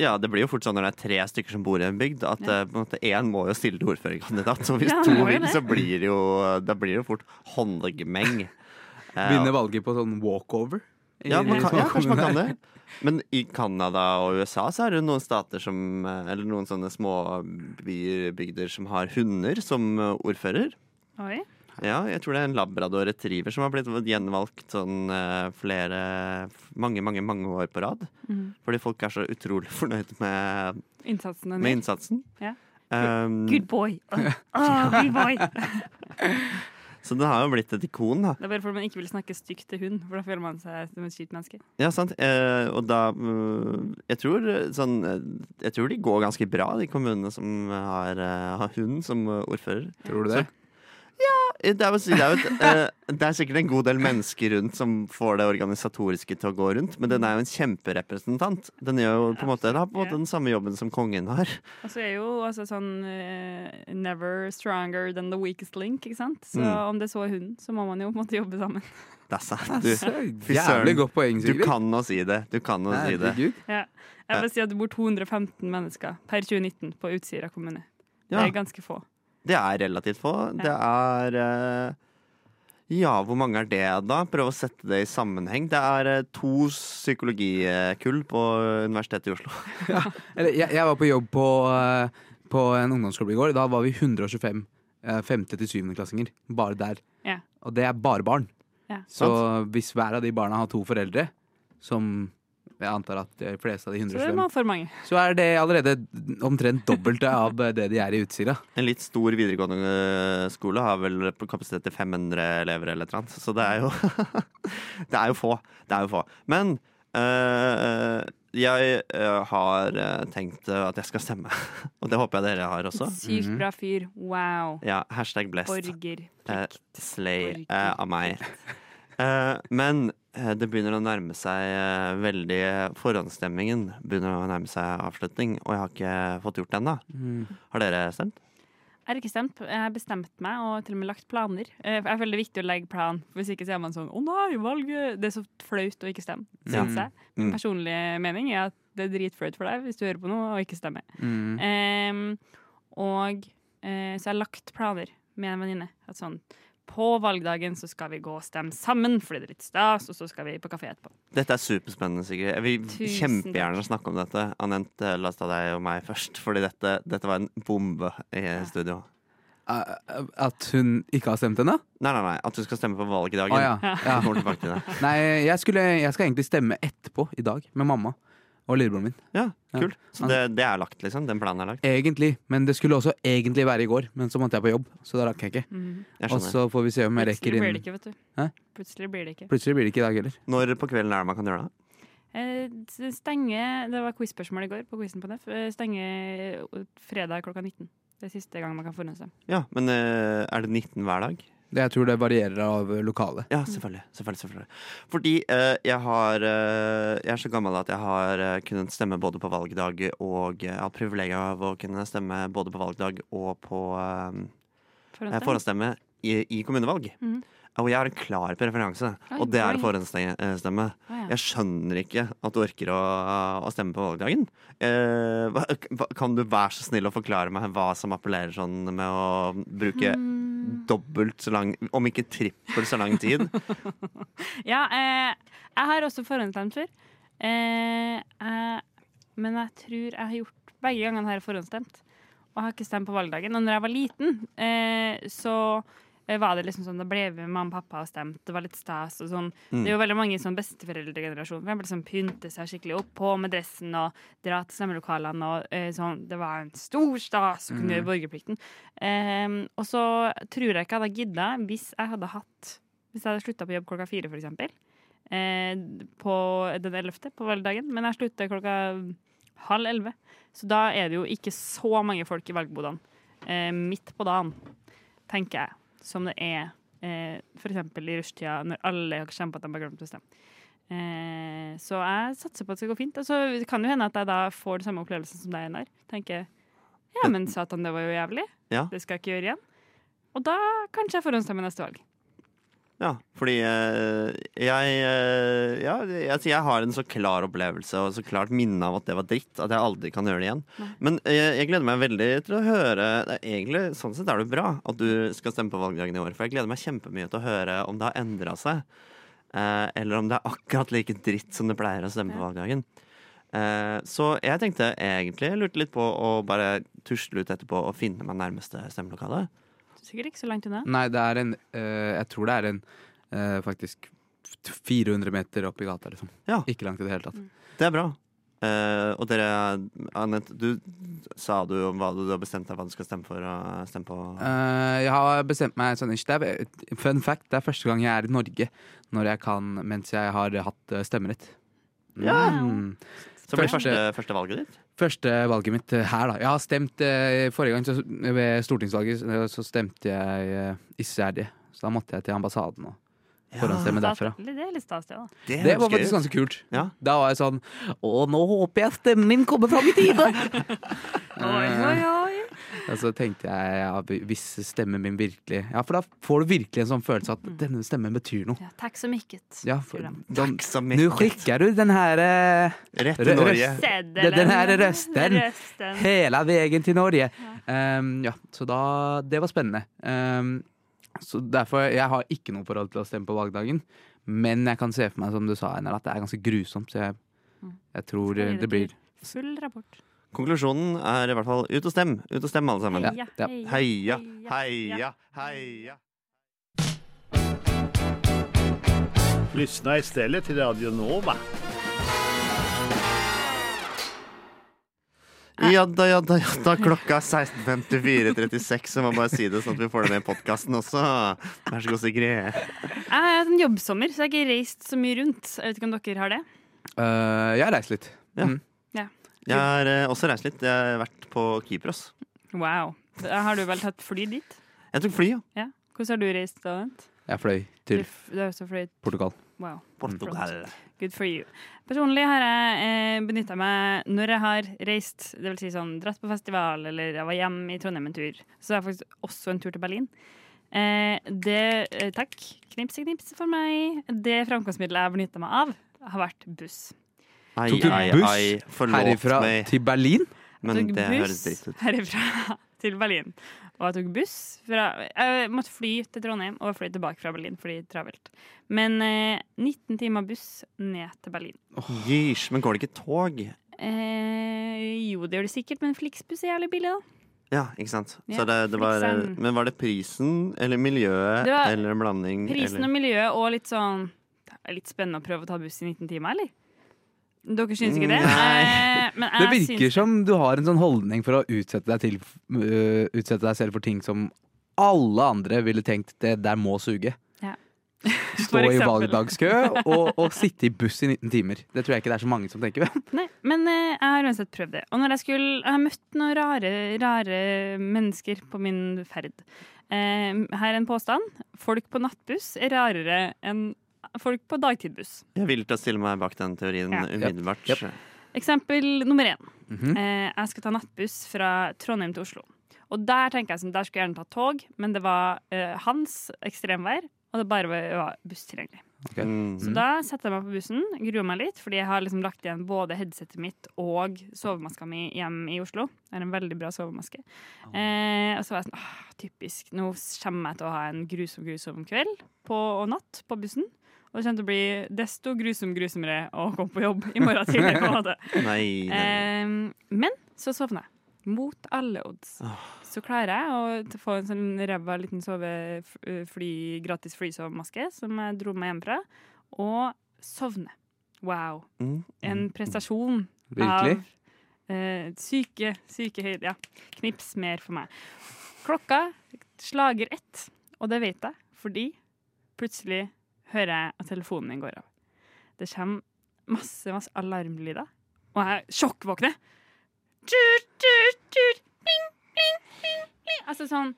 Ja, det blir jo fort sånn når det er tre stykker som bor i en bygd, at Ja. eh, på en måte én må jo stille til ordførerkandidat. Så hvis Ja, to det må jo vil, det. så blir det jo, da blir det jo fort håndgemeng. Eh, Begynner valget på sånn walkover? i ja, man de kan, små ja, kanskje man kan det. kommunene. Men i Canada og USA så er det jo noen stater som eh, Eller noen sånne små byer, bygder som har hunder som eh, ordfører. Oi. Ja, jeg tror det er en labrador retriever som har blitt gjenvalgt sånn eh, flere Mange, mange, mange år på rad. Mhm. Fordi folk er så utrolig fornøyd med Innsatsen med din. innsatsen. Ja. Um, Good boy. Åh, åh, good boy. Det så den har jo blitt et ikon, da. er bare fordi man ikke vil snakke stygt til hund, for da føler man seg som et kjipt menneske. Ja, sant. Eh, og da mm, jeg tror, eh, sånn, eh, jeg tror de går ganske bra, de kommunene som har, eh, har hund som eh, ordfører. Tror du det? Det er, jo, det, er jo et, eh, det er sikkert en god del mennesker rundt som får det organisatoriske til å gå rundt, men den er jo en kjemperepresentant. Den gjør jo på en måte, den har på en måte den samme jobben som kongen har. Og så er jo altså sånn eh, Never stronger than the weakest link, ikke sant? Så Mm. om det så er hunden, så må man jo på en måte jobbe sammen. Det er sant. Så Du, fy søren. Jævlig godt poeng, du Sigrid. kan nå si det. Du kan nå si det. Herregud. Ja. Jeg vil si at det bor 215 mennesker per 2019 på Utsira kommune. Ja, Det er ganske få. det er relativt få. Det er eh, Ja, hvor mange er det, da? Prøv å sette det i sammenheng. Det er eh, to psykologikull på Universitetet i Oslo. Eller, jeg, jeg var på jobb på, eh, på en ungdomsklubb i går. Da var vi 125 eh, femte til syvende klassinger. Bare der. Ja. Og det er bare barn. Ja. Så hvis hver av de barna har to foreldre, som jeg antar at de fleste av de Så det 125, må for mange. så er det allerede omtrent dobbelte av det de er i Utsira. En litt stor videregående eh, skole har vel på kapasitet til 500 elever eller et eller annet. Så det er jo Det er jo få. Det er jo få. Men eh, jeg eh, har eh, tenkt eh, at jeg skal stemme. Og det håper jeg dere har også. Sykt bra fyr. Wow. Ja, hashtag blessed. Borger. Eh, slay Orker. eh, av meg. Eh, men eh, det begynner å nærme seg eh, veldig Forhåndsstemmingen begynner å nærme seg avslutning, og jeg har ikke fått gjort det ennå. Mm. Har dere stemt? Jeg har ikke stemt. Jeg har bestemt meg og til og med lagt planer. Eh, for Jeg føler det er viktig å legge plan, for hvis ikke så er man sånn 'Å nei, valget!' Det er så flaut å ikke stemme, Ja. syns jeg. Mm. Min personlige mening er at det er dritflaut for deg hvis du hører på noe og ikke stemmer. Mm. Ehm, og eh, så jeg har lagt planer med en venninne. At sånn På valgdagen så skal vi gå og stemme sammen, fordi det er litt stas, og så skal vi på kafé etterpå. Dette er superspennende, Sigrid. Jeg vil Tusen kjempegjerne snakke om dette. Anette, la oss ta deg og meg først, fordi dette, dette var en bombe i studio. Eh, At hun ikke har stemt ennå? Nei, nei, nei, at du skal stemme på valgdagen. Å ja. ja. Jeg kommer tilbake til det. Nei, jeg, skulle, jeg skal egentlig stemme etterpå i dag med mamma og lillebroren min. Ja, kult. Ja. Så det, det er lagt, liksom? Den planen er lagt? Egentlig, men det skulle også egentlig være i går, men så måtte jeg på jobb, så da rakk jeg ikke. Jeg Og skjønner. så får vi se om jeg rekker Plutselig blir det inn. ikke, vet du. Hæ? Plutselig blir det ikke. Plutselig blir det ikke i dag heller. Når på kvelden er det man kan gjøre det? Eh, s- Stenge, det var quizspørsmål i går på quizen på NF. Eh, Stenge eh, fredag klokka 19. Det er siste gang man kan forhåndsstemme. Ja, men eh, er det 19 hver dag? Det- Jeg tror det varierer av lokale. Mm. Ja, selvfølgelig. selvfølgelig, selvfølgelig. Fordi eh, jeg, har, eh, jeg er så gammel at jeg har eh, kunnet stemme både på valgdag og eh, Jeg har hatt privilegiet av å kunne stemme både på valgdag og på eh, eh, forhåndsstemme i, i kommunevalg. Mhm. Og jeg har en klar preferanse, Oi, og det er oi. forhåndsstemme. Å, ja. Jeg skjønner ikke at du orker å, å stemme på valgdagen. Eh, hva, hva- kan du være så snill å forklare meg hva som appellerer sånn med å bruke Mm. dobbelt så lang, om ikke trippel så lang tid? Ja, eh, jeg har også forhåndsstemt før. Eh, jeg- men jeg tror jeg har gjort Begge gangene har jeg forhåndsstemt. Og jeg har ikke stemt på valgdagen. Og når jeg var liten, eh, så eh, var det liksom sånn, Da ble vi med mamma og pappa og stemte. Det var litt stas. og sånn. Det er jo veldig mange i sånn besteforeldregenerasjonen for eksempel, som pynte seg skikkelig opp på med dressen og dra til stemmelokalene. og eh, sånn, Det var en stor stas å kunne gjøre borgerplikten. Eh, og så tror jeg ikke jeg hadde gidda hvis jeg hadde hatt hvis jeg hadde slutta på jobb klokka fire, for eksempel, eh, på den ellevte på valgdagen, men jeg slutter klokka halv elleve, så da er det jo ikke så mange folk i valgbodene eh, midt på dagen, tenker jeg, som det er eh, for eksempel i rushtida, når alle har kjempet at de har glemt å stemme. Eh, så jeg satser på at det skal gå fint. Og så kan det jo hende at jeg da får den samme opplevelsen som deg, Einar. Tenker ja, men satan, det var jo jævlig. Ja. Det skal jeg ikke gjøre igjen. Og da kanskje jeg forhåndsstemmer neste valg. Ja, fordi eh, jeg, eh, ja, jeg, altså, jeg har en så klar opplevelse og så klart minne av at det var dritt, at jeg aldri kan gjøre det igjen. Men eh, jeg gleder meg veldig til å høre det er egentlig, Sånn sett er det bra at du skal stemme på valgdagen i år, for jeg gleder meg kjempemye til å høre om det har endra seg. eh, eller om det er akkurat like dritt som det pleier å stemme på valgdagen. Eh, så jeg tenkte egentlig, jeg lurte litt på å bare tusle ut etterpå og finne meg nærmeste stemmelokale. Sikkert ikke så langt unna. Nei, det er en eh, Jeg tror det er en eh, faktisk 400 meter opp i gata, liksom. Ja. Ikke langt i det hele tatt. Det er bra. Eh, og dere, Anette, du sa du om hva du, du har bestemt deg hva du skal stemme for og stemme på. Eh, jeg har bestemt meg sånn ikke, det er, Fun fact, det er første gang jeg er i Norge når jeg kan, mens jeg har hatt eh, stemmerett. Ja. Mm. Som blir Første- første, første valget ditt? Første valget mitt eh, her, da. Jeg har stemt eh, Forrige gang så, ved stortingsvalget eh, så stemte jeg eh, isterdig. Så da måtte jeg til ambassaden og forhåndsstemme derfra. Stas- Det er litt stas, det, da. Det, Det høres var gøy faktisk ut. ganske kult. Ja. Da var jeg sånn Å, nå håper jeg stemmen min kommer fram i tide! Oi, oi, Eh, oi. Og så tenkte jeg ja, hvis stemmen min virkelig Ja, for da får du virkelig en sånn Mm. følelse at denne stemmen betyr noe. Ja, takk så mykket. Ja, for, Program. den, Takk så nå mye. skikker du den her eh, Rett Rø- til Norge. røst. Seddelen. Den her røsten. Røsten. hele veien til Norge. Um, ja, så da Det var spennende. Um, så derfor Jeg har ikke noe forhold til å stemme på valgdagen. Men jeg kan se for meg, som du sa, Einar, at det er ganske grusomt. Så jeg, jeg tror eh, det blir Full rapport. Konklusjonen er i hvert fall ut og stem. Ut og stem, alle sammen. Ja. Heia, heia, heia. Lyssna istället till Radio Nova. Ja da, ja da, ja da. Klokka er 16.54.36, så må jeg bare si det sånn at vi får det med i podkasten også. Vær så god, Sigrid. Jeg har hatt en jobbsommer, så jeg har ikke reist så mye rundt. Jeg vet ikke om dere har det? Eh, Jeg har reist litt. Ja. Mm. Jeg har eh, også reist litt. Jeg har vært på Kypros. Wow. Da har du vel tatt fly dit? Jeg tok fly, ja. Ja. Hvordan har du reist da? Bent? Jeg fløy Du, til f- du har også fløyet. Portugal. Wow. Portugal. Good for you. Personlig har jeg eh, benytta meg når jeg har reist, det vil si sånn dratt på festival eller jeg var hjemme i Trondheim en tur, så har jeg faktisk også en tur til Berlin. Eh, det, eh, takk, knips i knips for meg. Det framkomstmiddelet jeg benytta meg av, har vært buss. Ai, Tok du ai, buss ai. Forlåt Herifra meg, til Berlin. men tok det buss høres dritt ut. herifra til Berlin. Og jeg tok buss fra Jeg måtte fly til Trondheim og fly tilbake fra Berlin fordi travelt. Men eh, 19 timer buss ned til Berlin. Gysj, men går det ikke tog? Eh, jo, det gjør det sikkert, men Flixbus er jævlig billig, da. Ja, ikke sant. Ja, Så det, det var, liksom. men var det prisen eller miljøet Det var eller en blanding? Prisen og eller? miljøet og litt sånn Det er litt spennende å prøve å ta buss i 19 timer, eller? Dere syns ikke det? Nei. Eh, men Det jeg virker syns- som du har en sånn holdning for å utsette deg, til, øh, utsette deg selv for ting som alle andre ville tenkt det der må suge. Ja. For Stå i eksempel. valgdagskø og, og sitte i buss i 19 timer. Det tror jeg ikke det er så mange som tenker. Nei, men eh, jeg har uansett prøvd det. Og når jeg skulle Jeg har møtt noen rare, rare mennesker på min ferd. Eh, her er en påstand. Folk på nattbuss er rarere enn folk på dagtidbuss. Jeg er villig til å stille meg bak den teorien Ja. umiddelbart. Jep, jep. Eksempel nummer én. Mhm. eh, jeg skal ta nattbuss fra Trondheim til Oslo. Og der tenker jeg som, der skulle jeg gjerne tatt tog, men det var eh, hans ekstremvær, og det bare var buss tilgjengelig. Mm. Så da setter jeg meg på bussen, gruer meg litt, fordi jeg har liksom lagt igjen både headsetet mitt og sovemaska mi hjem i Oslo. Det er en veldig bra sovemaske. Eh, og så var jeg sånn, ah, typisk, nå kommer jeg til å ha en grusom, grusom kveld på, og natt på bussen. Og det kommer til å bli desto grusom, grusommere å komme på jobb i morgen tidlig, på en måte. Nei, nei. Eh, men så sovna jeg. Mot alle odds. Så klarer jeg å t- få en sånn ræva liten sove, f- fly, gratis flysovemaske som jeg dro meg hjemmefra, og sovne. Wow. Mm. En prestasjon Virkelig. av eh, syke, syke høyde. Ja. Knips mer for meg. Klokka slager ett, og det vet jeg, fordi plutselig hører jeg at telefonen min går av. Det kommer masse, masse alarmlyder, og jeg sjokkvåkner. Tjur, tjur, tjur, ding, ding, ding, ding. Altså sånn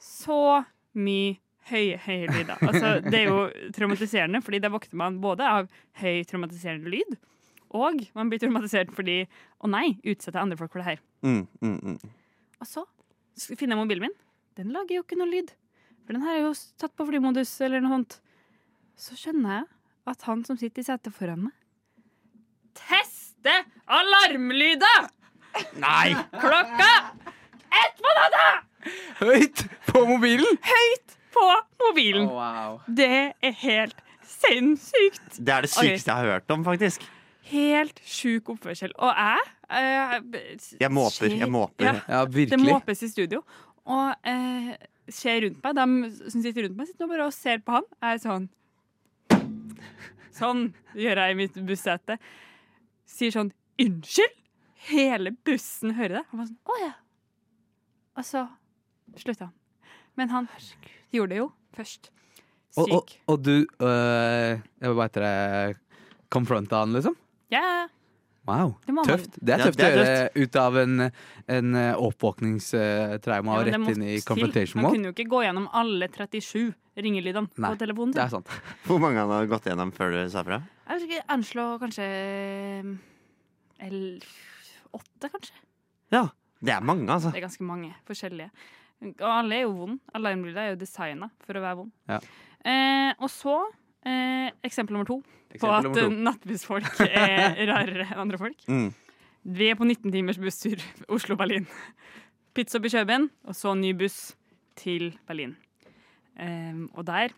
så mye høye, høye lyder. Altså, det er jo traumatiserende, fordi da våkner man både av høy traumatiserende lyd, og man blir traumatisert fordi Å nei, utsetter jeg andre folk for det her? Mm, mm, mm. Og så s- finner jeg mobilen min. Den lager jo ikke noe lyd. For den her er jo s- tatt på flymodus eller noe sånt. Så skjønner jeg at han som sitter i setet foran meg Teste alarmlyder! Nei! Klokka ett på natta! Høyt på mobilen! Høyt på mobilen. Det er helt sinnssykt. Det er det Ok. sykeste jeg har hørt om, faktisk. Helt sjuk oppførsel. Og jeg eh, b- Jeg måper. skjer- Jeg måper. Ja, Ja, det virkelig. måpes i studio. Og eh, skjer rundt meg. De som sitter rundt meg, sitter nå bare og ser på han. Jeg er sånn Sånn gjør jeg i mitt bussete. Sier sånn Unnskyld! Hele bussen hører det. Han var sånn Å ja. Og så slutta han. Men han gjorde det jo først. Syk. Og, og, og du øh, jeg vil bare etter deg Confronta han, liksom? Ja, Wow, Det må man- tøft. Det er Ja, tøft det å er gjøre ut av en, en eh, oppvåkningstrauma og Ja, men det rett måtte inn i til. confrontation Man mode. kunne jo ikke gå gjennom alle 37 ringelydene på Nei, telefonen Det er sin. sant. Hvor mange han har gått gjennom før du sa fra? Jeg vet ikke, anslå kanskje Eller åtte, kanskje? Ja, det er mange, altså. Det er ganske mange forskjellige. Og alle er jo vond. Alarmlyder er jo designa for å være vond. Ja. Eh, og så eh, eksempel nummer to på Eksempel at nummer to. eh, nattbussfolk er rarere enn andre folk. Mm. Vi er på 19 timers busstur Oslo-Berlin. Pizza opp i Kjøben, og så ny buss til Berlin. Ehm, og der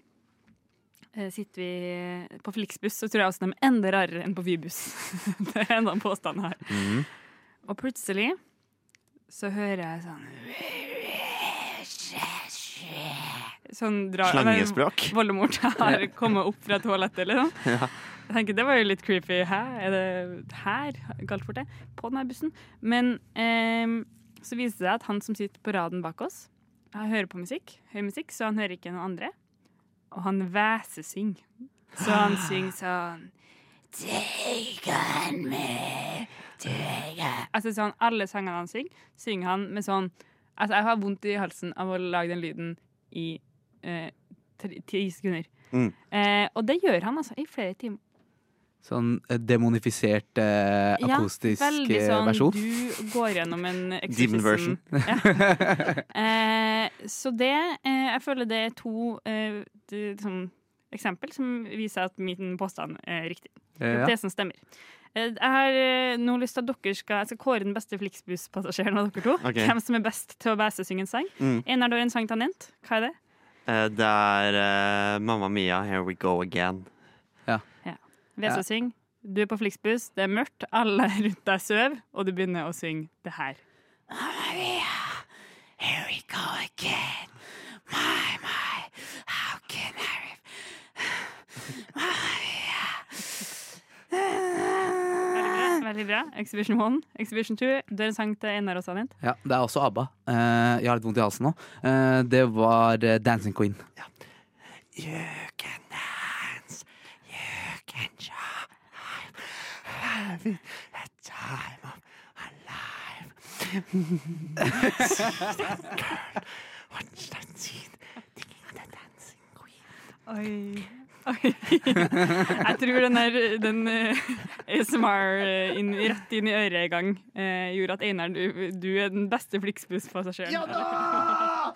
eh, sitter vi på Flixbuss, så tror jeg også de er enda rarere enn på Vybuss. det er enda en påstand her. Og plutselig så hører jeg sånn Sånn dra... Slangespråk. Voldemort har kommet opp fra toalettet, liksom. Jeg tenker, det var jo litt creepy. Hæ? Er det her galt for det? På denne bussen. Men ehm, så viser det seg at han som sitter på raden bak oss, han hører på musikk, høy musikk, så han hører ikke noen andre. Og han væsesynger. Så han synger sånn Take on me, take on Altså sånn, alle sangene han synger, synger han med sånn Altså, jeg har vondt i halsen av å lage den lyden i eh, tre- ti sekunder. Mm. Eh, og det gjør han altså i flere timer. Sånn eh, demonifisert eh, akustisk veldig eh, sånn versjon. Du går gjennom en Demon version. exorcism. Ja. eh, så det eh, Jeg føler det er to eh, d- sånn eksempel som viser at min påstand er riktig. Eh, Det ja. som stemmer. Eh, Jeg har eh, nå lyst til at dere skal Jeg skal kåre den beste Flixbuss-passasjeren av dere to. Ok. Hvem som er best til å bæsesynge en sang. Mm. Einar, du har en sang tangent. Hva er det? Eh, Det er eh, Mamma Mia, Here We Go Again. Vesesyng. Du er på Flixbuss, det er mørkt, alle rundt deg søv, og du begynner å synge det her. Here we go again. My, my, how can I Veldig bra. veldig bra. Exhibition 1, Exhibition 2. Du er en sang til Einar og Sanit. Ja, Det er også ABBA. Eh, jeg har litt vondt i halsen nå. Eh, det var eh, Dancing Queen. You can dance, you can shine. Having a time of our life. Girl, what's that scene? Thinking of the dancing queen. Oi. Jeg tror den der den eh, ASMR eh, inn, rett inn i øret i gang eh, gjorde at Einar, du, du er den beste Flixbuss-passasjeren. Ja da!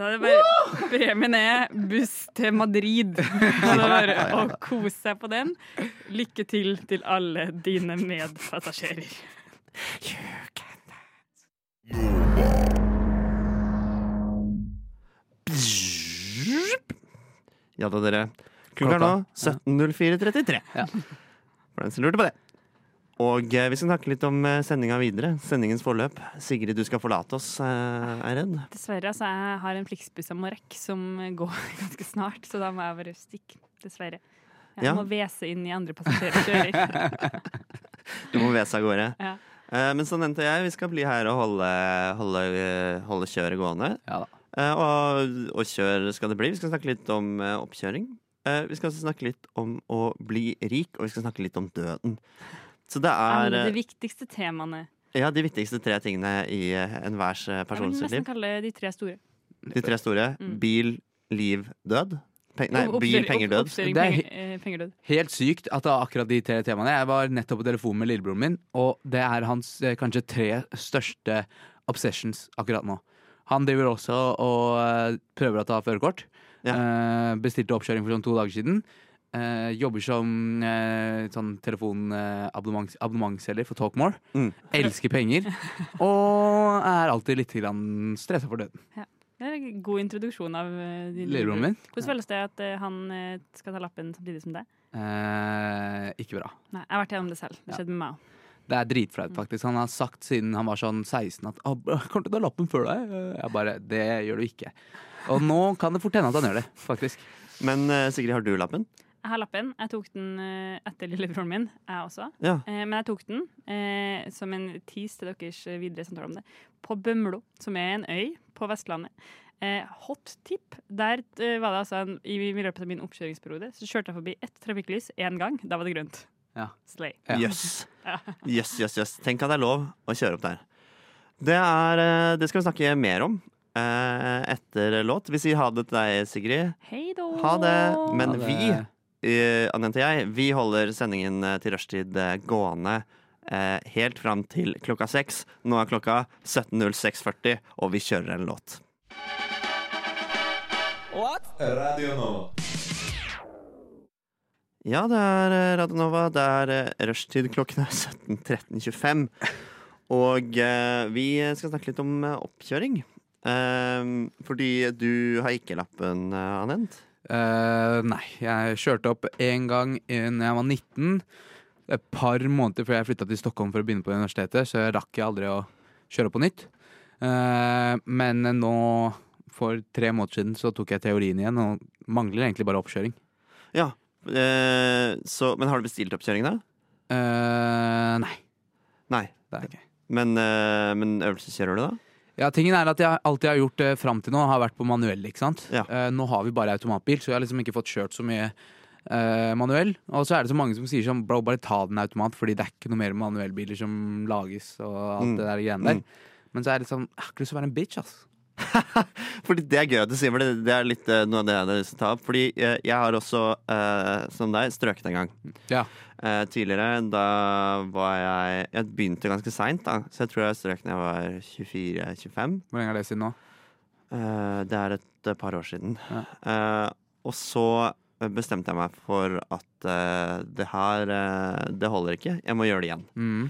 er det bare, premien er buss til Madrid. Så det er bare å kose seg på den. Lykke til til alle dine medpassasjerer. Ja da, dere. Klokka er nå 17.04.33. Ja. For den som lurte på det. Og eh, vi skal snakke litt om sendinga videre. Sendingens forløp. Sigrid, du skal forlate oss, eh, er jeg redd. Dessverre, altså, jeg har en Flixbuss av Marek som går ganske snart, så da må jeg bare stikke. Dessverre. Jeg Ja. må hvese inn i andre passasjerer. Du må vese av gårde. Ja. Eh, Men så nevnte jeg, vi skal bli her og holde, holde, eh, holde kjøret gående. Ja da. Eh, Og, og kjør skal det bli. Vi skal snakke litt om eh, oppkjøring. Eh, Vi skal også snakke litt om å bli rik, og vi skal snakke litt om døden. Så det er Alle de eh, viktigste temaene. ja, de viktigste tre tingene i eh, enhvers eh, Jeg vil persons nesten liv. kalle de tre store. De tre store. Mm. Bil, liv, død. Pe nei, Opp- bil, oppkjøring- penger, opp- død. Oppkjøring, Det er penger, eh, penger, død. Helt sykt at det er akkurat de tre temaene. Jeg var nettopp på telefonen med lillebroren min, og det er hans eh, kanskje tre største obsessions akkurat nå. Han driver også og eh, prøver å ta førerkort. Eh, bestilte oppkjøring for sånn to dager siden. Eh, jobber som eh, sånn telefonabonnementsselger eh, abonnements- abonnementsselger for Talkmore. Mm. Elsker penger. Og er alltid litt grann stressa for døden. Det er en god introduksjon av eh, din Lillebroren min? Hvordan føles det at eh, han eh, skal ta lappen samtidig som deg? Eh, ikke bra. Nei, jeg har vært gjennom det selv. Ja. Det skjedde med meg òg. Det er dritflaut, faktisk. Han har sagt siden han var sånn 16 at «Å, b- 'Kommer til å ta lappen før deg.' Jeg bare Det gjør du ikke. Og nå kan det fort hende at han gjør det, faktisk. Men eh, Sigrid, har du lappen? Jeg har lappen. Jeg tok den eh, etter lillebroren min, jeg også. Ja. Eh, Men jeg tok den eh, som en tease til deres eh, videre samtale om det. På Bømlo, som er en øy på Vestlandet. Eh, hot tip. Der eh, var det altså en, i, i løpet av min oppkjøringsperiode så kjørte jeg forbi ett trafikklys én gang. Da var det grønt. Ja. Slay. Ja. Jøss. Jøss, jøss, jøss. Tenk at det er lov å kjøre opp der. Det, er, eh, det skal vi snakke mer om eh, etter låt. Vi sier ha det til deg, Sigrid. Hei da! Ha det. Men Ha det. vi, eh, Anette og jeg, vi holder sendingen eh, til rushtid eh, gående eh, helt fram til klokka seks. Nå er klokka 17.06,40, og vi kjører en låt. Ja, det er eh, Radio Nova. Det er eh, rushtid. Klokken er 17.13,25. Og eh, vi skal snakke litt om eh, oppkjøring. Eh, fordi du har ikke lappen, eh, Anent. Eh, nei, jeg kjørte opp én gang eh, Når jeg var 19. Et par måneder før jeg flytta til Stockholm for å begynne på universitetet, så jeg rakk jeg aldri å kjøre på nytt. Eh, men nå, for tre måneder siden, så tok jeg teorien igjen, og mangler egentlig bare oppkjøring. Ja, eh, så, men har du bestilt oppkjøring da? Eh, nei, Nei, det er jeg ikke. men, eh, men øvelseskjører du da? Ja, tingen er at jeg, Alt jeg har gjort eh, fram til nå, har vært på manuell. ikke sant? Ja. Eh, nå har vi bare automatbil, så jeg har liksom ikke fått kjørt så mye eh, manuell. Og så er det så mange som sier sånn bro, bare ta den automat, fordi det er ikke noe mer manuellbiler som lages. og alt Mm. det der greiene der. Men så er det sånn, jeg har ikke lyst til å være en bitch, ass. Fordi det er gøy at du sier for det, det er litt eh, noe av det jeg hadde lyst til å ta opp. Fordi eh, jeg har også, eh, som deg, strøket en gang. Ja. Eh, tidligere, da var jeg Jeg begynte ganske seint, da, så jeg tror jeg strøk da jeg var 24-25. Hvor lenge er det siden nå? Eh, det er et eh, par år siden. Ja. Eh, og så bestemte jeg meg for at eh, det her eh, Det holder ikke. Jeg må gjøre det igjen. Mm.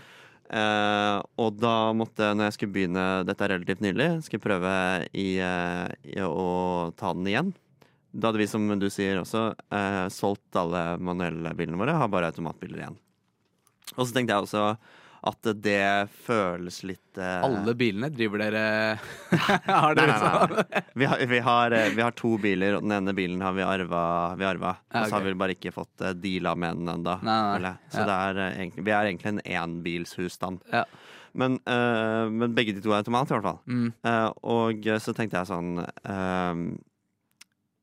Eh, og da måtte jeg, når jeg skulle begynne Dette er relativt nylig Skulle prøve i, eh, i å ta den igjen Da hadde vi, som du sier også eh, Solgt alle manuelle bilene våre Har bare automatbiler igjen Og så tenkte jeg også At det føles litt eh, Alle bilene driver dere Har Nei, dere nei, sånn? nei, nei. Vi, har, vi, har, eh, vi har to biler, og den ene bilen har vi arva. Vi arva. Ja, Og så har ok. vi bare ikke fått eh, deala med den ennå. Nei, nei, nei. Så det er, eh, egentlig, vi er egentlig en enbilshusstand. Ja. Men, eh, men begge de to er automat, i hvert fall. Mm. Eh, og eh, så tenkte jeg sånn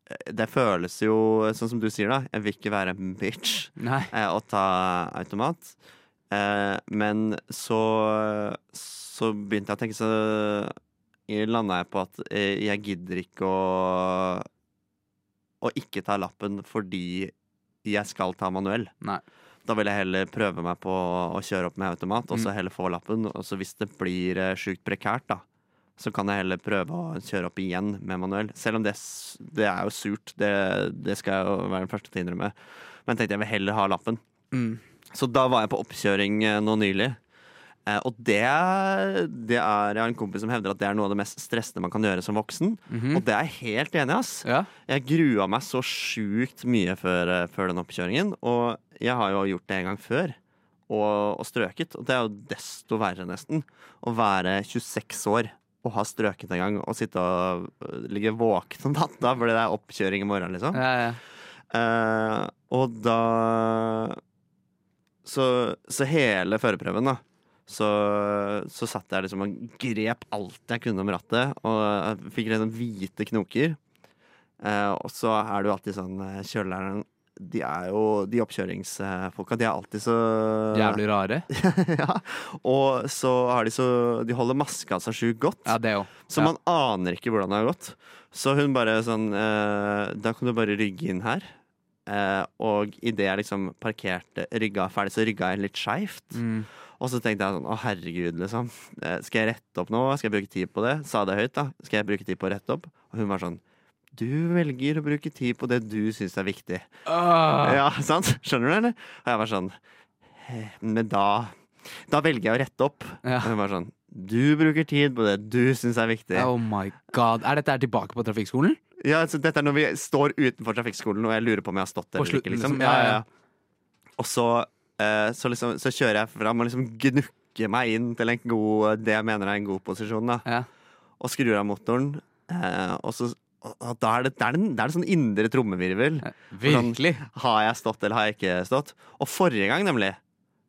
eh, Det føles jo sånn som du sier, da. Jeg vil ikke være en bitch Nei. eh, å ta automat. Eh, men så, så begynte jeg å tenke, så landa jeg på at eh, jeg gidder ikke å, å ikke ta lappen fordi jeg skal ta manuell. Nei. Da vil jeg heller prøve meg på å kjøre opp med automat, og så Mm. heller få lappen. Og så hvis det blir eh, sjukt prekært, da, så kan jeg heller prøve å kjøre opp igjen med manuell. Selv om det, s- det er jo surt, det, det skal jeg jo være den første til å innrømme. Men jeg tenkte jeg vil heller ha lappen. Mm. Så da var jeg på oppkjøring eh, nå nylig. Eh, og det, det er Jeg har en kompis som hevder at det er noe av det mest stressende man kan gjøre som voksen. Mhm. Og det er jeg helt enig i, ass. Ja. Jeg grua meg så sjukt mye før, eh, før den oppkjøringen. Og jeg har jo gjort det en gang før. Og, og strøket. Og det er jo desto verre, nesten. Å være 26 år og ha strøket en gang og sitte og eh, ligge våken om natta fordi det er oppkjøring i morgen, liksom. Ja, ja. Eh, og da Så, så hele førerprøven, da, så, så satt jeg liksom og grep alt jeg kunne om rattet, og jeg fikk liksom hvite knoker. Eh, og så er det jo alltid sånn eh, Kjørelæreren De er jo De oppkjøringsfolka, de er alltid så Jævlig rare. ja. Og så har de så De holder maska så sjukt godt. Ja, det òg. Så Ja. man aner ikke hvordan det har gått. Så hun bare sånn eh, Da kan du bare rygge inn her. Eh, og idet jeg liksom parkerte rygga ferdig, så rygga jeg litt skeivt. Mm. Og så tenkte jeg sånn Å, herregud, liksom. Eh, skal jeg rette opp nå? Skal jeg bruke tid på det? Sa det høyt, da. Skal jeg bruke tid på å rette opp? Og hun var sånn Du velger å bruke tid på det du syns er viktig. Åh. Ja, sant? Skjønner du, eller? Og jeg var sånn «Eh, Men da Da velger jeg å rette opp. Ja. Og hun var sånn Du bruker tid på det du syns er viktig. Oh my god. Er dette her tilbake på trafikkskolen? Ja, så dette er når vi står utenfor trafikkskolen, og jeg lurer på om jeg har stått der På eller ikke. slutten, Liksom. liksom. Ja, Ja, ja, ja. Og så, eh, så, liksom, så kjører jeg fram og liksom gnukker meg inn til en god, det jeg mener er en god posisjon, da. Ja. og skrur av motoren. Eh, og så, og, og da er det, det, er en, det er en sånn indre trommevirvel. Virkelig? Har jeg stått, eller har jeg ikke stått? Og forrige gang, nemlig,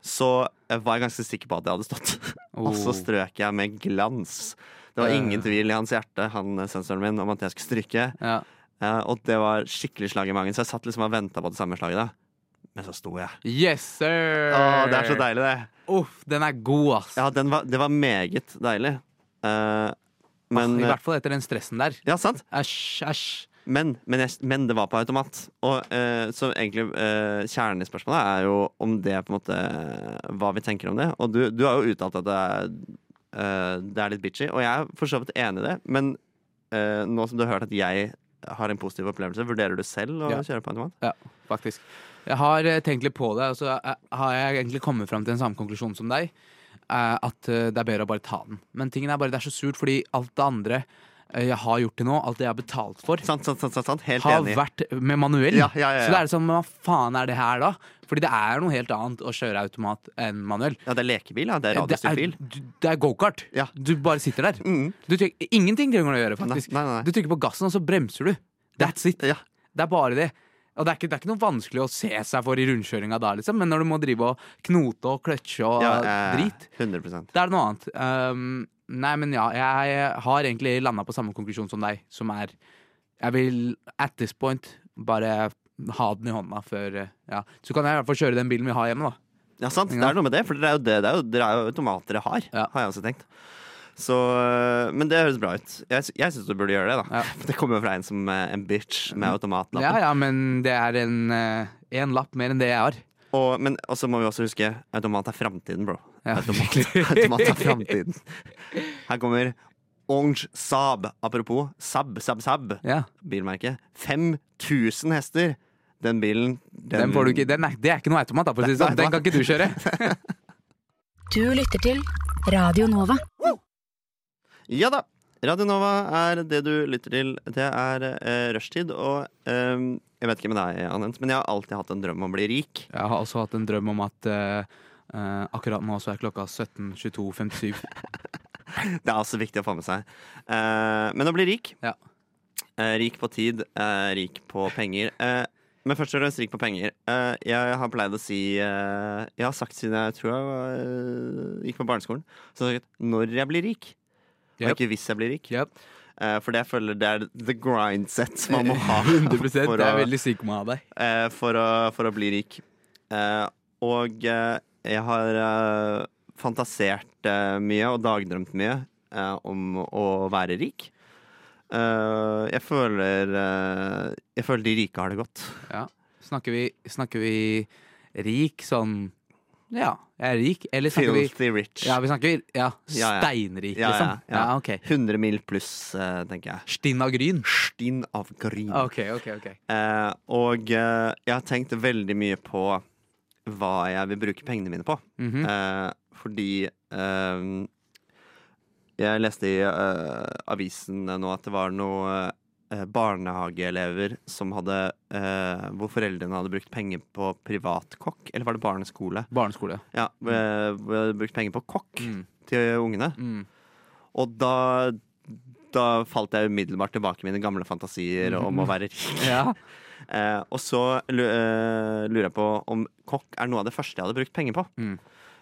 så eh, var jeg ganske sikker på at jeg hadde stått. Og Oh. så strøk jeg med glans. Det var Eh. ingen tvil i hans hjerte, han eh, sensoren min, om at jeg skulle stryke. Ja. Ja, og det var skikkelig slag i magen, så jeg satt liksom og venta på det samme slaget. da Men så sto jeg. Yes, sir! Å, det er så deilig, det. Uff, den er god, ass. Ja, den var, det var meget deilig. Eh, men I hvert fall etter den stressen der. Ja, sant? Æsj, æsj. Men, men, jeg, men det var på automat. Og eh, så egentlig eh, kjernen i spørsmålet er jo om det på en måte eh, Hva vi tenker om det. Og du, du har jo uttalt at det er, eh, det er litt bitchy, og jeg er for så vidt enig i det. Men eh, nå som du har hørt at jeg har en positiv opplevelse, vurderer du selv å Ja. kjøre på automat? Ja, faktisk. Jeg har eh, tenkt litt på det, og så eh, har jeg egentlig kommet fram til den samme konklusjonen som deg. eh, At eh, det er bedre å bare ta den. Men tingen er bare det er så surt, fordi alt det andre eh, jeg har gjort til nå, alt det jeg har betalt for, Sant, sant, sant, sant, sant. Helt har enig. vært med manuell. Ja, ja, ja, ja. Så det er sånn, hva faen er det her da? Fordi det er noe helt annet å kjøre automat enn manuell. Ja, det er lekebil, ja. Det er Det radiostyrt er, bil. du- det er gokart. Ja. Mm. Du bare sitter der. Du tryk- ingenting trenger du å gjøre, faktisk. Nei, nei, nei. Du trykker på gassen, og så bremser du. That's it. Ja. Det er bare det. Og det er, ikke, det er ikke noe vanskelig å se seg for i rundkjøringa da, liksom, men når du må drive og knote og kløtsje og Ja, eh, eh, drit, 100 da er det noe annet. Um, nei, men ja, jeg har egentlig landa på samme konklusjon som deg, som er Jeg vil at this point bare ha den i hånda før eh, Ja. Så kan jeg i hvert fall kjøre den bilen vi har hjemme, da. Ja, sant. Det Ja. er noe med det, for dere er jo, det, det er jo, dere er jo automater dere har, Ja. har jeg også tenkt. Så, øh, men det høres bra ut. Jeg, sy- jeg syns du burde gjøre det. da Det kommer jo fra en som eh, en bitch med Mm. Ja, automatlappen. ja, men det er en, eh, en lapp mer enn det jeg har. Og, men og så må vi også huske automat er framtiden, bro. Ja, Automat, virkelig. automat er framtiden. Her kommer Orange Saab. Apropos Saab, Saab, Saab. Ja, Bilmerke. 5000 hester! Den bilen den, får du ikke, den er, det er ikke noe automat, da, for å si det sånn. Den kan ikke du kjøre. Du lytter til Radio Nova. Ja da! Radio Nova er det du lytter til. Det er eh, rushtid, og ehm, jeg vet ikke med deg, Anent, men jeg har alltid hatt en drøm om å bli rik. Jeg har også hatt en drøm om at eh, eh, akkurat nå så er klokka 17.22.57. Det er også viktig å få med seg. Eh, men å bli rik Ja. Eh, Rik på tid, eh, rik på penger. Eh, men først og fremst rik på penger. Eh, jeg har pleid å si eh, Jeg har sagt siden jeg tror jeg var, eh, gikk på barneskolen, så har jeg sagt når jeg blir rik. Og Yep. ikke hvis jeg blir rik. Yep. Eh, for det jeg føler det er the grind set man må ha. 100 Det for er å- veldig sigma av deg. eh, for, å, for å bli rik. Eh, og eh, jeg har eh, fantasert eh, mye og dagdrømt mye eh, om å være rik. Eh, jeg føler eh, Jeg føler de rike har det godt. Snakker vi, snakker vi rik sånn Ja, jeg er rik. Eller snakker vi Filthy rich. Ja, vi snakker ja, Ja, ja. steinrik, Ja, ja, liksom. Ja, ja. ok. 100 mil pluss, eh, tenker jeg. Stinn av gryn. Stinn av grin. OK, OK. ok Eh, og eh, jeg har tenkt veldig mye på hva jeg vil bruke pengene mine på. Mhm. Eh, fordi eh, Jeg leste i eh, avisen nå at det var noen barnehageelever som hadde eh, Hvor foreldrene hadde brukt penger på privatkokk, eller var det barneskole? Barneskole. Ja, eh, hvor de hadde brukt penger på kokk Mm. til ungene. Mm. Og da, da falt jeg umiddelbart tilbake i mine gamle fantasier Mm. om å være rik. Ja. Eh, og så lu- eh, lurer jeg på om kokk er noe av det første jeg hadde brukt penger på. Mm.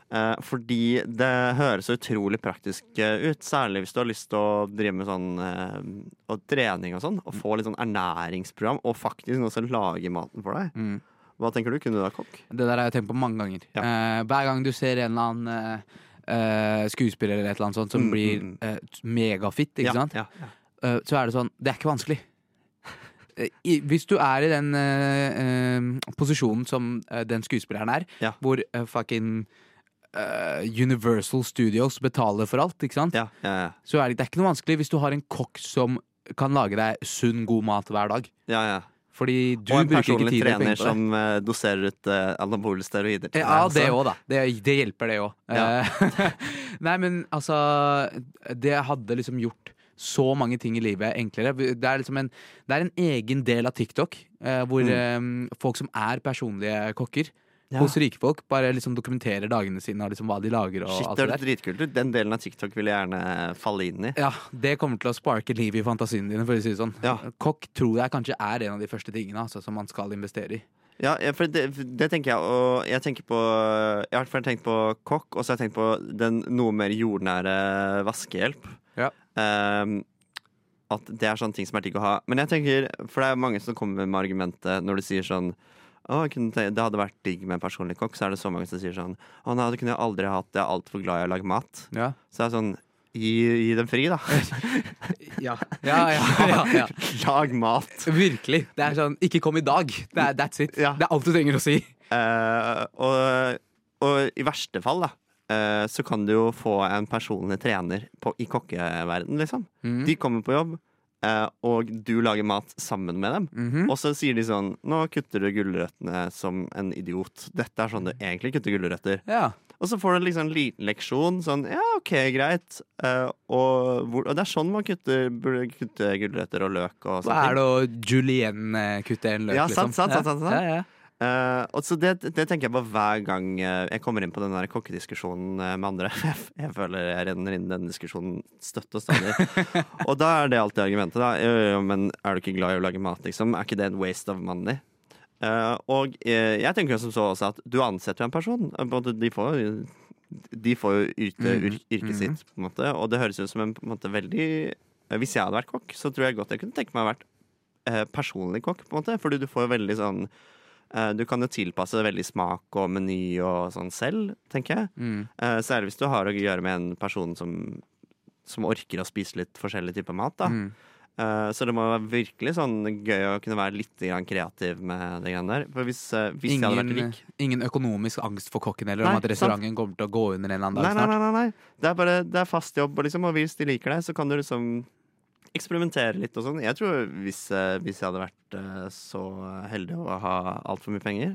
Eh, fordi det høres så utrolig praktisk eh, ut, særlig hvis du har lyst til å drive med sånn eh, og trening og sånn, og Mm. få litt sånn ernæringsprogram, og faktisk noen som lager maten for deg. Mm. Hva tenker du? Kunne du vært kokk? Det der har jeg tenkt på mange ganger. Ja. Eh, hver gang du ser en eller annen eh, eh, skuespiller eller et eller annet sånt som Mm, blir mm, eh, megafitt, ja, ikke sant? Ja, ja. Eh, så er det sånn Det er ikke vanskelig. Eh, I, hvis du er i den eh, eh, posisjonen som eh, den skuespilleren er, Ja. hvor eh, fucking eh, Universal Studios betaler for alt, ikke sant? Ja, ja, ja. Så er det, det er ikke noe vanskelig hvis du har en kokk som kan lage deg sunn, god mat hver dag. ja, ja. Fordi du og en bruker ikke personlig tid eller trener penger på det. som eh, doserer ut eh, anabole steroider. til Ja, deg altså. det også. òg, da. Det, det hjelper, det òg. Ja. Nei, men altså Det hadde liksom gjort så mange ting i livet enklere. Det er liksom en, det er en egen del av TikTok eh, hvor eh, folk som er personlige kokker Mm. Ja. hos rike folk, bare liksom dokumenterer dagene sine og liksom hva de lager og Shit, alt det det høres der. dritkult ut. Den delen av TikTok vil jeg gjerne falle inn i. Ja, Det kommer til å sparke liv i fantasien dine, for å si det sånn. Ja. Kokk tror jeg kanskje er en av de første tingene altså, som man skal investere i. Ja, ja, for det, det tenker jeg, og jeg tenker på Jeg har i hvert fall tenkt på kokk, og så har jeg tenkt på den noe mer jordnære vaskehjelp. Ja. Ehm, at det er sånne ting som er digg å ha. Men jeg tenker, for det er mange som kommer med argumentet når du sier sånn Å, jeg kunne tenke, det hadde vært digg med en personlig kokk, så er det så mange som sier sånn Å nei, det kunne jeg aldri hatt, jeg er altfor glad i å lage mat. Ja. Så det er sånn Gi, gi dem fri, da. Ja. Ja, ja, ja, ja. Lag mat. Virkelig. Det er sånn Ikke kom i dag. Det er, that's it. Ja. Det er alt du trenger å si. Eh, og, og i verste fall, da, eh, så kan du jo få en personlig trener på, i kokkeverden, liksom. Mm. De kommer på jobb, eh, og du lager mat sammen med dem. Mhm. Og så sier de sånn Nå kutter du gulrøttene som en idiot. Dette er sånn du egentlig kutter gulrøtter. Ja. Og så får du liksom en liten leksjon. Sånn Ja, OK, greit. Eh, og, hvor, og det er sånn man kutter, burde kutte gulrøtter og løk og Hva sånne er ting. det å julienne-kutte en løk, Ja, liksom? sant, sant, sant, sant, sant. Ja, ja, ja. Eh, og så det, det tenker jeg på hver gang eh, jeg kommer inn på den der kokkediskusjonen eh, med andre. Jeg, jeg føler jeg renner inn i den diskusjonen støtt og stadig. og da er det alltid argumentet, da. Jo, jo, jo, men er du ikke glad i å lage mat, liksom? Er ikke det en waste of money? Eh, og eh, jeg tenker jo som så også at du ansetter jo en person. Eh, Både de får jo de får jo yte Mhm. yr- yrket sitt, på en måte. Og det høres ut som en på en måte, veldig eh, Hvis jeg hadde vært kokk, så tror jeg godt jeg kunne tenke meg å vært eh, personlig kokk, på en måte. Fordi du får jo veldig sånn eh, Du kan jo tilpasse veldig smak og meny og sånn selv, tenker jeg. Mm. Eh, særlig hvis du har å gjøre med en person som, som orker å spise litt forskjellig type mat, da. Mm. Eh, så det må være virkelig sånn gøy å kunne være litt grann kreativ med det greiene der. For hvis, eh, hvis jeg hadde vært Ingen, eh, rik ingen økonomisk angst for kokken heller Nei, om at restauranten kommer til å gå under en eller annen dag Nei, nei, nei, nei, nei. Det er bare det er fast jobb, og liksom, og hvis de liker deg, så kan du liksom eksperimentere litt og sånn. Jeg tror hvis, eh, hvis jeg hadde vært eh, så heldig å ha altfor mye penger,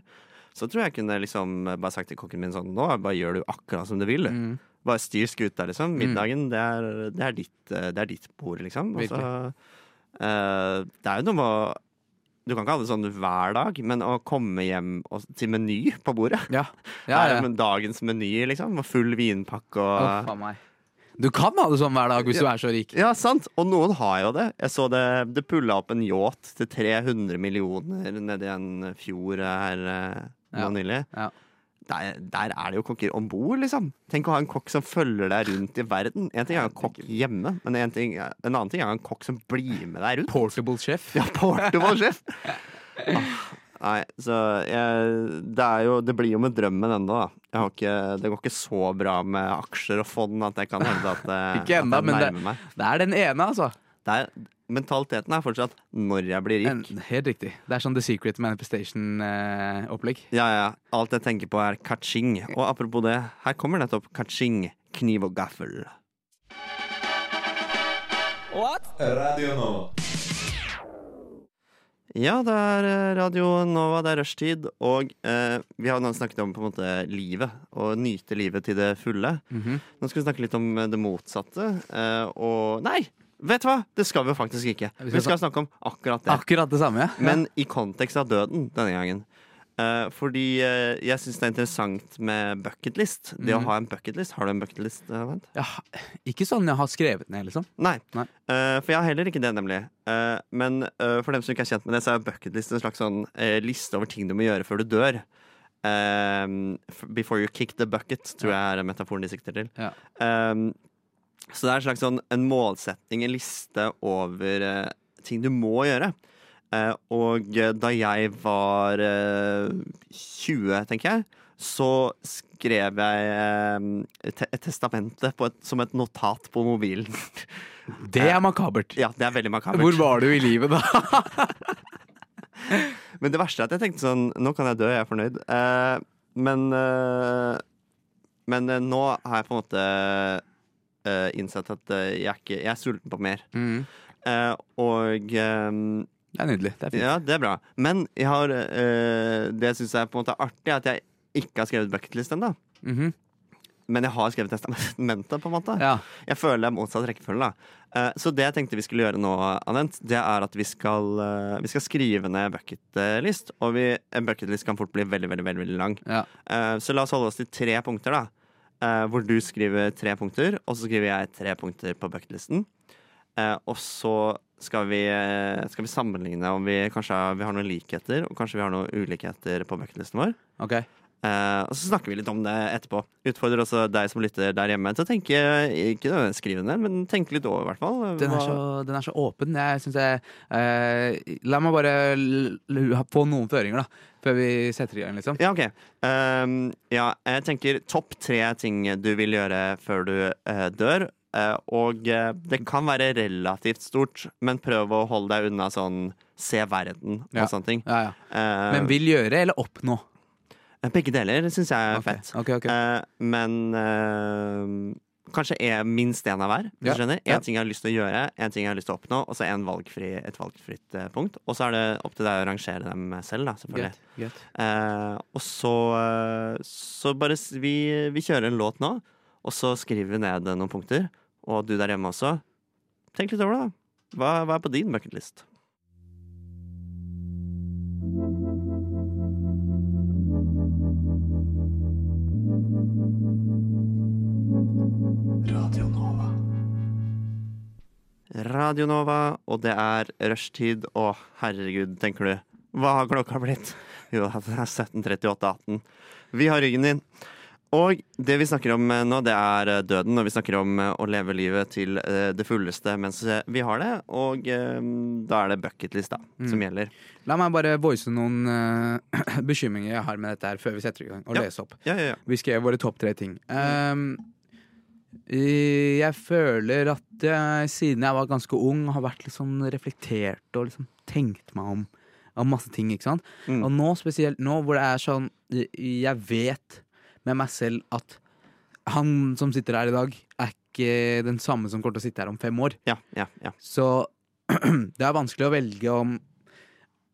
så tror jeg kunne liksom bare sagt til kokken min sånn Nå bare gjør du akkurat som du vil, du. Mm. Bare styr skuta, liksom. Middagen, det er, det er, ditt, eh, det er ditt bord, liksom. Og så, eh, det er jo noe med å Du kan ikke ha det sånn hver dag, men å komme hjem og, til meny på bordet Ja, ja, Her ja. er men dagens meny, liksom. Og full vinpakke og Å, faen meg. Du kan ha det sånn hver dag hvis du er så rik. Ja, sant. Og noen har jo det. Jeg så det, det pulla opp en yacht til 300 millioner nedi en fjord her eh, nå Ja. nylig. Ja. Der, der er det jo kokker om bord, liksom. Tenk å ha en kokk som følger deg rundt i verden. En ting er en kokk hjemme, men en, ting, en annen ting er en kokk som blir med deg rundt. Portable chef. Ja, portable chef! Ah, nei, så jeg, det, er jo, det blir jo med drømmen ennå, da. Jeg har ikke, det går ikke så bra med aksjer og fond at jeg kan hevde at, eh, Ikke ennå, at jeg men det- nærmer meg. Det er den ene, altså. Det er, mentaliteten er fortsatt 'når jeg blir En, rik'. helt riktig. Det er sånn The Secret eh, Manifestation-opplegg. Ja, ja. Alt jeg tenker på, er kaching. Og apropos det, her kommer nettopp kaching. Kniv og gaffel. Radio Nova. Ja, det er eh, Radio Nova, det er rushtid, og eh, vi har jo nå snakket om på en måte livet, og nyte livet til det fulle. Mhm. Nå skal vi snakke litt om eh, det motsatte, eh, og Nei! Vet du hva? Det skal vi jo faktisk ikke. skal Vi skal snakke om akkurat det. Akkurat det samme, ja. Men i kontekst av døden denne gangen. Eh, fordi eh, jeg syns det er interessant med bucketlist. Det å Mhm. ha en bucketlist. Har du en bucketlist? eh, Vent? ja. Ikke sånn jeg har skrevet ned, liksom. Nei. Nei. Eh, for jeg har heller ikke det, nemlig. Eh, men eh, for dem som ikke er kjent med det, så er bucketlist en slags sånn eh, liste over ting du må gjøre før du dør. Eh, f- before you kick the bucket, tror jeg er metaforen de sikter til. Ja. Eh, så det er en slags sånn en målsetting, en liste over eh, ting du må gjøre. Eh, og eh, da jeg var eh, 20, tenker jeg, så skrev jeg eh, te et testamente på et, som et notat på mobilen. Det er makabert. ja, det er veldig makabert. Hvor var du i livet da? Men det verste er at jeg tenkte sånn Nå kan jeg dø, jeg er fornøyd. Eh, men eh, men eh, nå har jeg på en måte eh, innsett at eh, jeg, er ikke, jeg er sulten på mer. Eh, og eh, Mm, Det er nydelig. Det er fint. Ja, det er bra. Men jeg har, eh, det syns jeg på en måte er artig, at jeg ikke har skrevet bucketlist ennå. Mhm. Men jeg har skrevet testamentet, på en måte. Ja. Jeg føler det er motsatt rekkefølge. da. Eh, Så det jeg tenkte vi skulle gjøre nå, Anent, det er at vi skal, eh, vi skal skrive ned bucketlist. Og vi, en bucketlist kan fort bli veldig, veldig, veldig, veldig lang. Ja. Eh, Så la oss holde oss til tre punkter, da. Eh, Hvor du skriver tre punkter, og så skriver jeg tre punkter på bucketlisten. Eh, Og så skal vi, eh, skal vi sammenligne om vi kanskje har, vi har noen likheter, og kanskje vi har noen ulikheter på bucketlisten vår. Ok. Eh, og så snakker vi litt om det etterpå. Utfordrer også deg som lytter der hjemme til å tenke ikke nødvendigvis skrive ned, men tenke litt over, i hvert fall. Den er, så, Hva- den er så åpen. Jeg synes jeg eh, La meg bare l- l- ha på noen føringer, da. Før vi setter i gang, liksom. Ja, ok. Ehm, ja, jeg tenker topp tre ting du vil gjøre før du eh, dør. Eh, og eh, det kan være relativt stort, men prøv å holde deg unna sånn se verden og Ja. sånne ting. Ja, ja. Eh, Men vil gjøre eller oppnå? begge deler syns jeg er Ok, fett. ok, ok. Eh, men eh, kanskje er minst én av hver. Hvis Ja, du skjønner Én ja. ting jeg har lyst til å gjøre, én ting jeg har lyst til å oppnå, og så en valgfri, et valgfritt eh, punkt. Og så er det opp til deg å rangere dem selv, da, selvfølgelig. Greit. greit. Eh, og så, eh, så bare s- vi, vi kjører en låt nå, og så skriver vi ned noen punkter. Og du der hjemme også. Tenk litt over det, da. Hva, hva er på din bucketlist? Radio Nova, og det er rushtid. Å, herregud, tenker du. Hva har klokka blitt? Jo, det er 17.38,18. Vi har ryggen din. Og det vi snakker om eh, nå, det er eh, døden, og vi snakker om eh, å leve livet til eh, det fulleste mens eh, vi har det. Og eh, da er det bucketlist, da, Mm. som gjelder. La meg bare voice noen eh, bekymringer jeg har med dette her, før vi setter i gang, og Ja. lese opp. Ja, ja, ja. Vi skrev våre topp tre ting. Ehm, eh, jeg føler at jeg, siden jeg var ganske ung, har vært litt sånn reflektert og liksom tenkt meg om, om masse ting. ikke sant? Mm. Og nå spesielt nå hvor det er sånn eh, Jeg vet med meg selv at han som sitter her i dag, er ikke den samme som kommer til å sitte her om fem år. Ja, ja, ja. Så det er vanskelig å velge om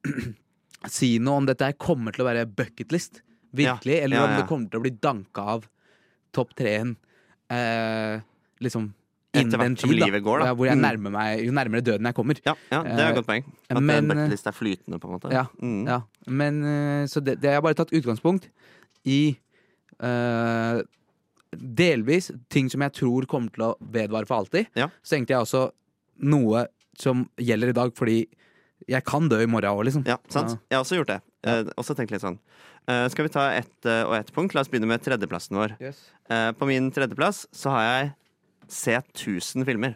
Si noe om dette her kommer til å være bucketlist, virkelig, Ja, eller ja, om ja. det kommer til å bli danka av topp treen eh, liksom innen Etter den hvert som tid, da. livet går, da. Ja, Hvor jeg Mm. nærmer meg, jo nærmere døden jeg kommer. ja, ja det er Eh, et godt poeng. At eh, men, eh, bucketlist er flytende, på en måte. Ja, Mm. ja. Men, eh, så det, det har jeg bare tatt utgangspunkt i eh, delvis ting som jeg tror kommer til å vedvare for alltid. Ja. Så tenkte jeg også noe som gjelder i dag, fordi jeg kan dø i morgen òg, liksom. Ja, sant? Ja. Jeg har også gjort det. Eh, også tenkt litt sånn. Eh, skal vi ta ett eh, og ett punkt? La oss begynne med tredjeplassen vår. Eh, på min tredjeplass så har jeg sett 1000 filmer.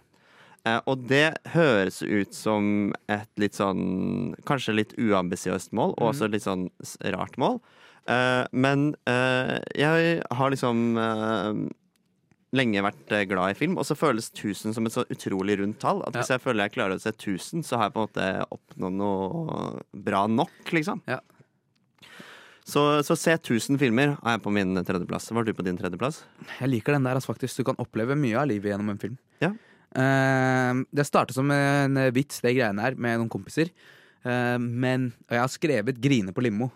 Eh, og det høres ut som et litt sånn Kanskje litt uambisiøst mål, og også litt sånn s- rart mål. Eh, men eh, jeg har liksom eh, lenge vært eh, glad i film, og så føles 1000 som et så utrolig rundt tall. At Ja. Hvis jeg føler jeg klarer å se 1000, så har jeg på en måte oppnådd noe bra nok, liksom. Ja. Så, så se 1000 filmer er jeg på min tredjeplass. Var du på din tredjeplass? Jeg liker den der, altså, faktisk. Du kan oppleve mye av livet gjennom en film. Ja. Eh, det startet som en eh, vits, det greiene her, med noen kompiser. Eh, men, og jeg har skrevet 'grine på limo',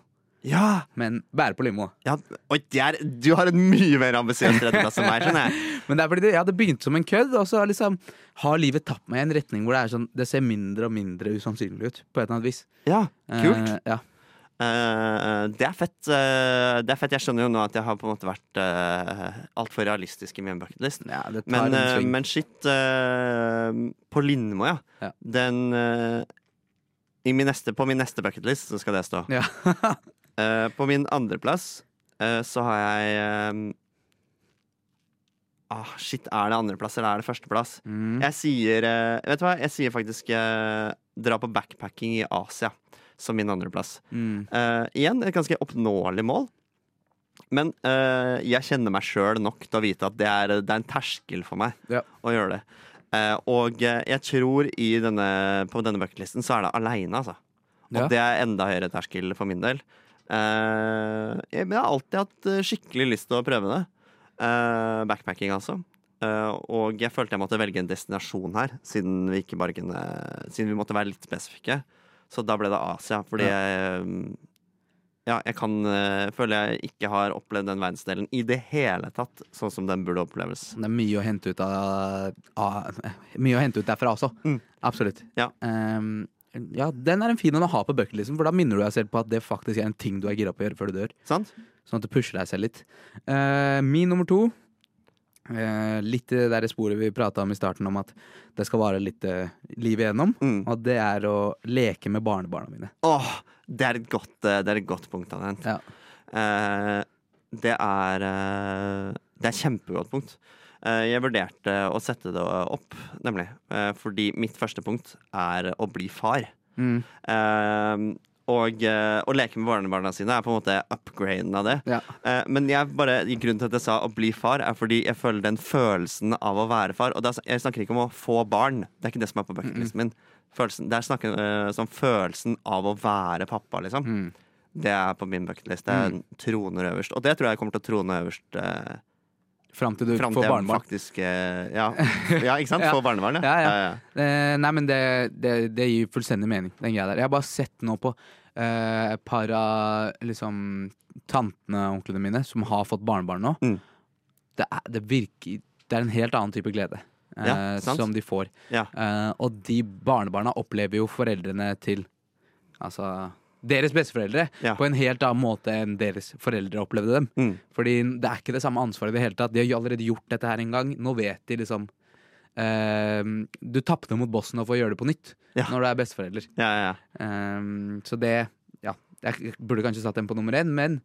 Ja! men 'bære på limo'. Ja, oi, det er, du har en mye mer ambisiøs tredjeplass enn meg, skjønner jeg. Men det er fordi det, ja, det begynte som en kødd, og så har liksom, har livet tatt meg i en retning hvor det, er sånn, det ser mindre og mindre usannsynlig ut. På et eller annet vis. Ja, kult. Eh, ja. Eh, det er fett. eh, det er fett. Jeg skjønner jo nå at jeg har på en måte vært uh, altfor realistisk i min bucketlist. ja, det tar Men, en eh, sving. men shit eh, På Lindmo, ja. Ja. Den eh, i min neste, På min neste bucketlist så skal det stå. Ja. Eh, på min andreplass uh, så har jeg eh, Ah, shit, er det andreplass eller er det førsteplass? Mm. Jeg sier eh, Vet du hva? Jeg sier faktisk eh, dra på backpacking i Asia som min andreplass. Mm. Eh, igjen et ganske oppnåelig mål. Men eh, jeg kjenner meg sjøl nok til å vite at det er, eh, det er en terskel for meg Ja. å gjøre det. Eh, og eh, jeg tror i denne, på denne bucketlisten så er det aleine, altså. Og Ja. det er enda høyere terskel for min del. Eh, jeg, men jeg har alltid hatt eh, skikkelig lyst til å prøve det. Eh, backpacking, altså. Eh, og jeg følte jeg måtte velge en destinasjon her, siden vi, ikke bare kunne, siden vi måtte være litt spesifikke. Så da ble det Asia, fordi Ja. jeg mm, ja, jeg kan eh, føle jeg ikke har opplevd den verdensdelen i det hele tatt, sånn som den burde oppleves. Det er mye å hente ut av, av Mye å hente ut derfra også. Mm. Absolutt. Ja. Ehm, ja, den er en fin en å ha på bucket, liksom, for da minner du deg selv på at det faktisk er en ting du er gira på å gjøre før du dør. Sant? Sånn at det pusher deg selv litt. Eh, min nummer to eh, Litt i det der sporet vi prata om i starten, om at det skal vare litt eh, livet igjennom. Mm. Og det er å leke med barnebarna mine. Åh, det er et godt, eh, det er et godt punkt, Anent. Ja. Eh, det er eh, Det er et kjempegodt punkt. Eh, Jeg vurderte å sette det opp, nemlig. eh, Fordi mitt første punkt er å bli far. Mm. Eh, Og eh, å leke med barnebarna sine er på en måte upgraden av det. Ja. Eh, Men jeg bare, grunnen til at jeg sa å bli far, er fordi jeg føler den følelsen av å være far. Og da, jeg snakker ikke om å få barn. Det er ikke det som er på Mm. bucketlisten min. Følelsen, det er snakke, eh, som følelsen av å være pappa, liksom. Mm. Det er på min bucketlist. Det er troner øverst. Og det tror jeg kommer til å trone øverst eh, Fram til du fram får til jeg barnebarn. faktisk eh, ja. ja, ikke sant? Ja. Få barnebarn, Ja, ja. Eh, nei, men det, det, det gir fullstendig mening, den greia der. Jeg har bare sett nå på eh, et par av liksom, tantene og onklene mine som har fått barnebarn nå. Mm. Det, er, det virker Det er en helt annen type glede eh, Ja, sant. som de får. Ja. Eh, og de barnebarna opplever jo foreldrene til Altså deres besteforeldre Ja. på en helt annen måte enn deres foreldre opplevde dem. Mm. Fordi det er ikke det samme ansvaret i det hele tatt. De har jo allerede gjort dette her en gang. Nå vet de liksom ehm, Du tapte mot bossen og får gjøre det på nytt Ja. når du er besteforelder. Ja, ja, ja. Ehm, så det Ja, jeg burde kanskje satt den på nummer én, men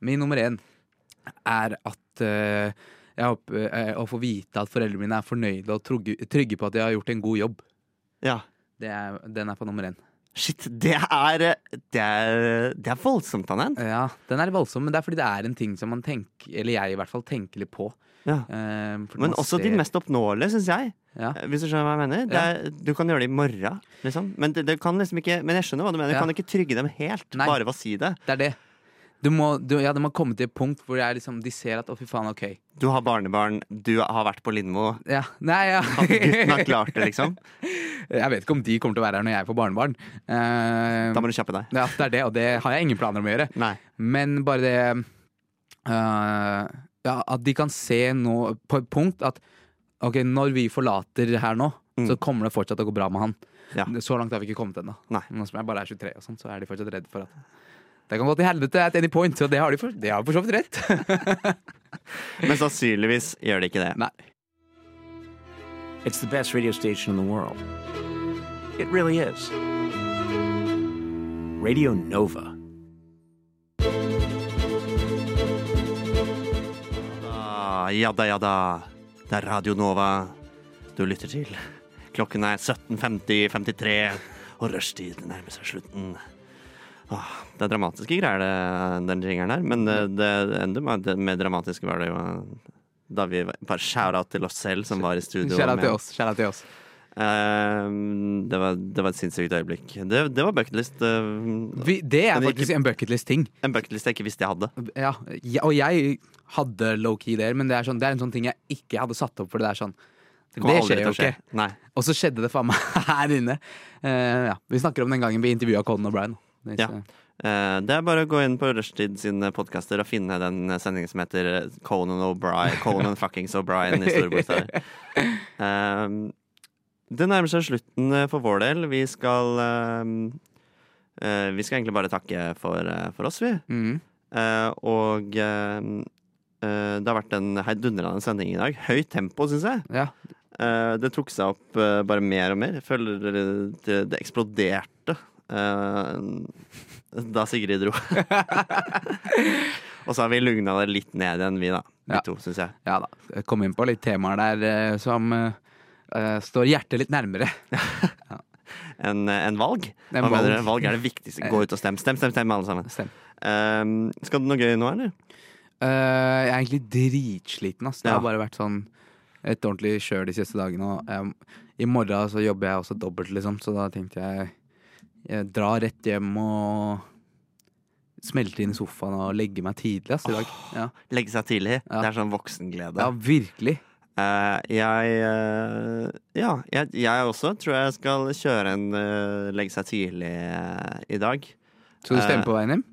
min nummer én er at eh, jeg håper, eh, Å få vite at foreldrene mine er fornøyde og trygge, trygge på at de har gjort en god jobb. ja. Det er, den er på nummer én. Shit, det er, eh, det er, det er voldsomt, Anand. Eh, Ja, Den er voldsom, men det er fordi det er en ting som man tenker, eller jeg i hvert fall, tenker litt på. Ja. Ehm, fordi Men man også de ser- mest oppnåelige, syns jeg. Eh, Ja. Hvis du skjønner hva jeg mener. Det er, du kan gjøre det i morgen, liksom. Men, det, det kan liksom ikke, men jeg skjønner hva du mener. Du Ja. kan ikke trygge dem helt Nei. bare ved å si det. Det er det. Du må, du, ja, det må komme til et punkt hvor jeg liksom, de ser at å, fy faen, OK. Du har barnebarn, du har vært på Lindmo. Ja, nei, ja. At gutten har klart det, liksom. Jeg vet ikke om de kommer til å være her når jeg får barnebarn. Eh, Da må du kjappe deg. ja, det er det, og det har jeg ingen planer om å gjøre. Nei. Men bare det eh, ja, At de kan se nå på et punkt at OK, når vi forlater her nå, Mm. så kommer det fortsatt til å gå bra med han. Ja. Så langt har vi ikke kommet ennå. Nei. Nå som jeg bare er 23, og sånn, så er de fortsatt redd for at det kan gå til helvete at any point, og det har de for, det har de for så vidt rett. Men sannsynligvis gjør det ikke det. Nei. It's the best radio station in the world. It really is. Radio Nova. Ah, ja da, ja da. Det er Radio Nova du lytter til. Klokken er 17.50-53, og rushtiden nærmer seg slutten. Ah, det er dramatiske greier, det, den jingeren her. Men det, det enda mer- det mer dramatiske var det jo da vi Bare shout-out til oss selv som var i studio. Kjære med- til oss. Kjære til oss. Eh, det, var, det var et sinnssykt øyeblikk. Det, det var bucketlist. eh, Vi, det er Men ikke- faktisk en bucketlist-ting. en bucketlist jeg ikke visste jeg hadde. Ja, ja, og jeg hadde low-key der, men det er, sånn, det er en sånn ting jeg ikke hadde satt opp for. Det er sånn Det Det, kommer aldri skjer til jo å skje. ikke. Nei. Og så skjedde det faen meg her inne. Eh, ja. Vi snakker om den gangen vi intervjua Colin O'Brien. Hvis, Ja. eh, Eh, det er bare å gå inn på Rushtid sine podkaster og finne den sendingen som heter eh, Conan O'Brien. Conan fuckings O'Brien i store bokstaver. Eh, det nærmer seg slutten eh, for vår del. Vi skal eh, eh, Vi skal egentlig bare takke for, eh, for oss, vi. Mm. Eh, og eh, eh, det har vært en heidundrende sending i dag. Høyt tempo, syns jeg. Ja. Eh, det tok seg opp eh, bare mer og mer. Jeg føler det, det, det eksploderte eh, da Sigrid dro. og så har vi lugna det litt ned igjen, vi da. Vi Ja. to, syns jeg. ja da. Jeg Kom inn på litt temaer der eh, som eh, eh, står hjertet litt nærmere. En, en valg. En Hva mener valg. du? valg er det viktigste. Gå ut og stem. Stem, stem, stem, alle sammen. Stem. Eh, skal du noe gøy nå, eller? Eh, jeg er egentlig dritsliten. Ass. Det Ja. har bare vært sånn et ordentlig kjør de siste dagene. Og jeg, I morgen så jobber jeg også dobbelt, liksom, så da tenkte jeg, jeg dra rett hjem og smelte inn i sofaen og legge meg tidlig ass, i dag. Ja. Legge seg tidlig. Ja. Det er sånn voksenglede. ja, virkelig. Eh, jeg eh, Ja, jeg, jeg også tror jeg skal kjøre en eh, legge seg tidlig eh, i dag. Skal du Eh, stemme på veien hjem?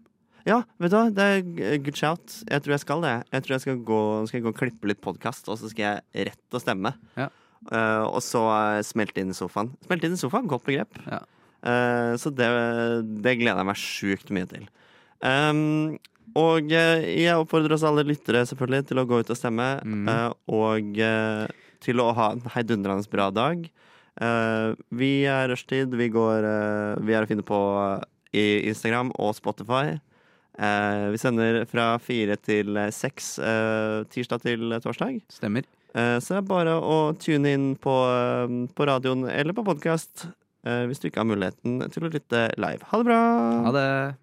Ja, vet du hva, det er g- eh, good shout. Jeg tror jeg skal det. Jeg tror jeg skal gå, skal jeg gå og klippe litt podkast, og så skal jeg rett og stemme. Ja. Eh, og så eh, smelte inn i sofaen. Smelte inn i sofaen, godt begrep. Ja. Eh, så det, det gleder jeg meg sjukt mye til. Um, og eh, jeg oppfordrer oss alle lyttere selvfølgelig til å gå ut og stemme. Mm. eh, og eh, til å ha en heidundrende bra dag. Eh, vi eh, er rushtid. Vi, går, eh, vi er å finne på i Instagram og Spotify. Eh, vi sender fra fire til eh, seks eh, tirsdag til torsdag. Stemmer. Eh, så det er bare å tune inn på, eh, på radioen eller på podkast eh, hvis du ikke har muligheten til å lytte live. Ha det bra! Ha det.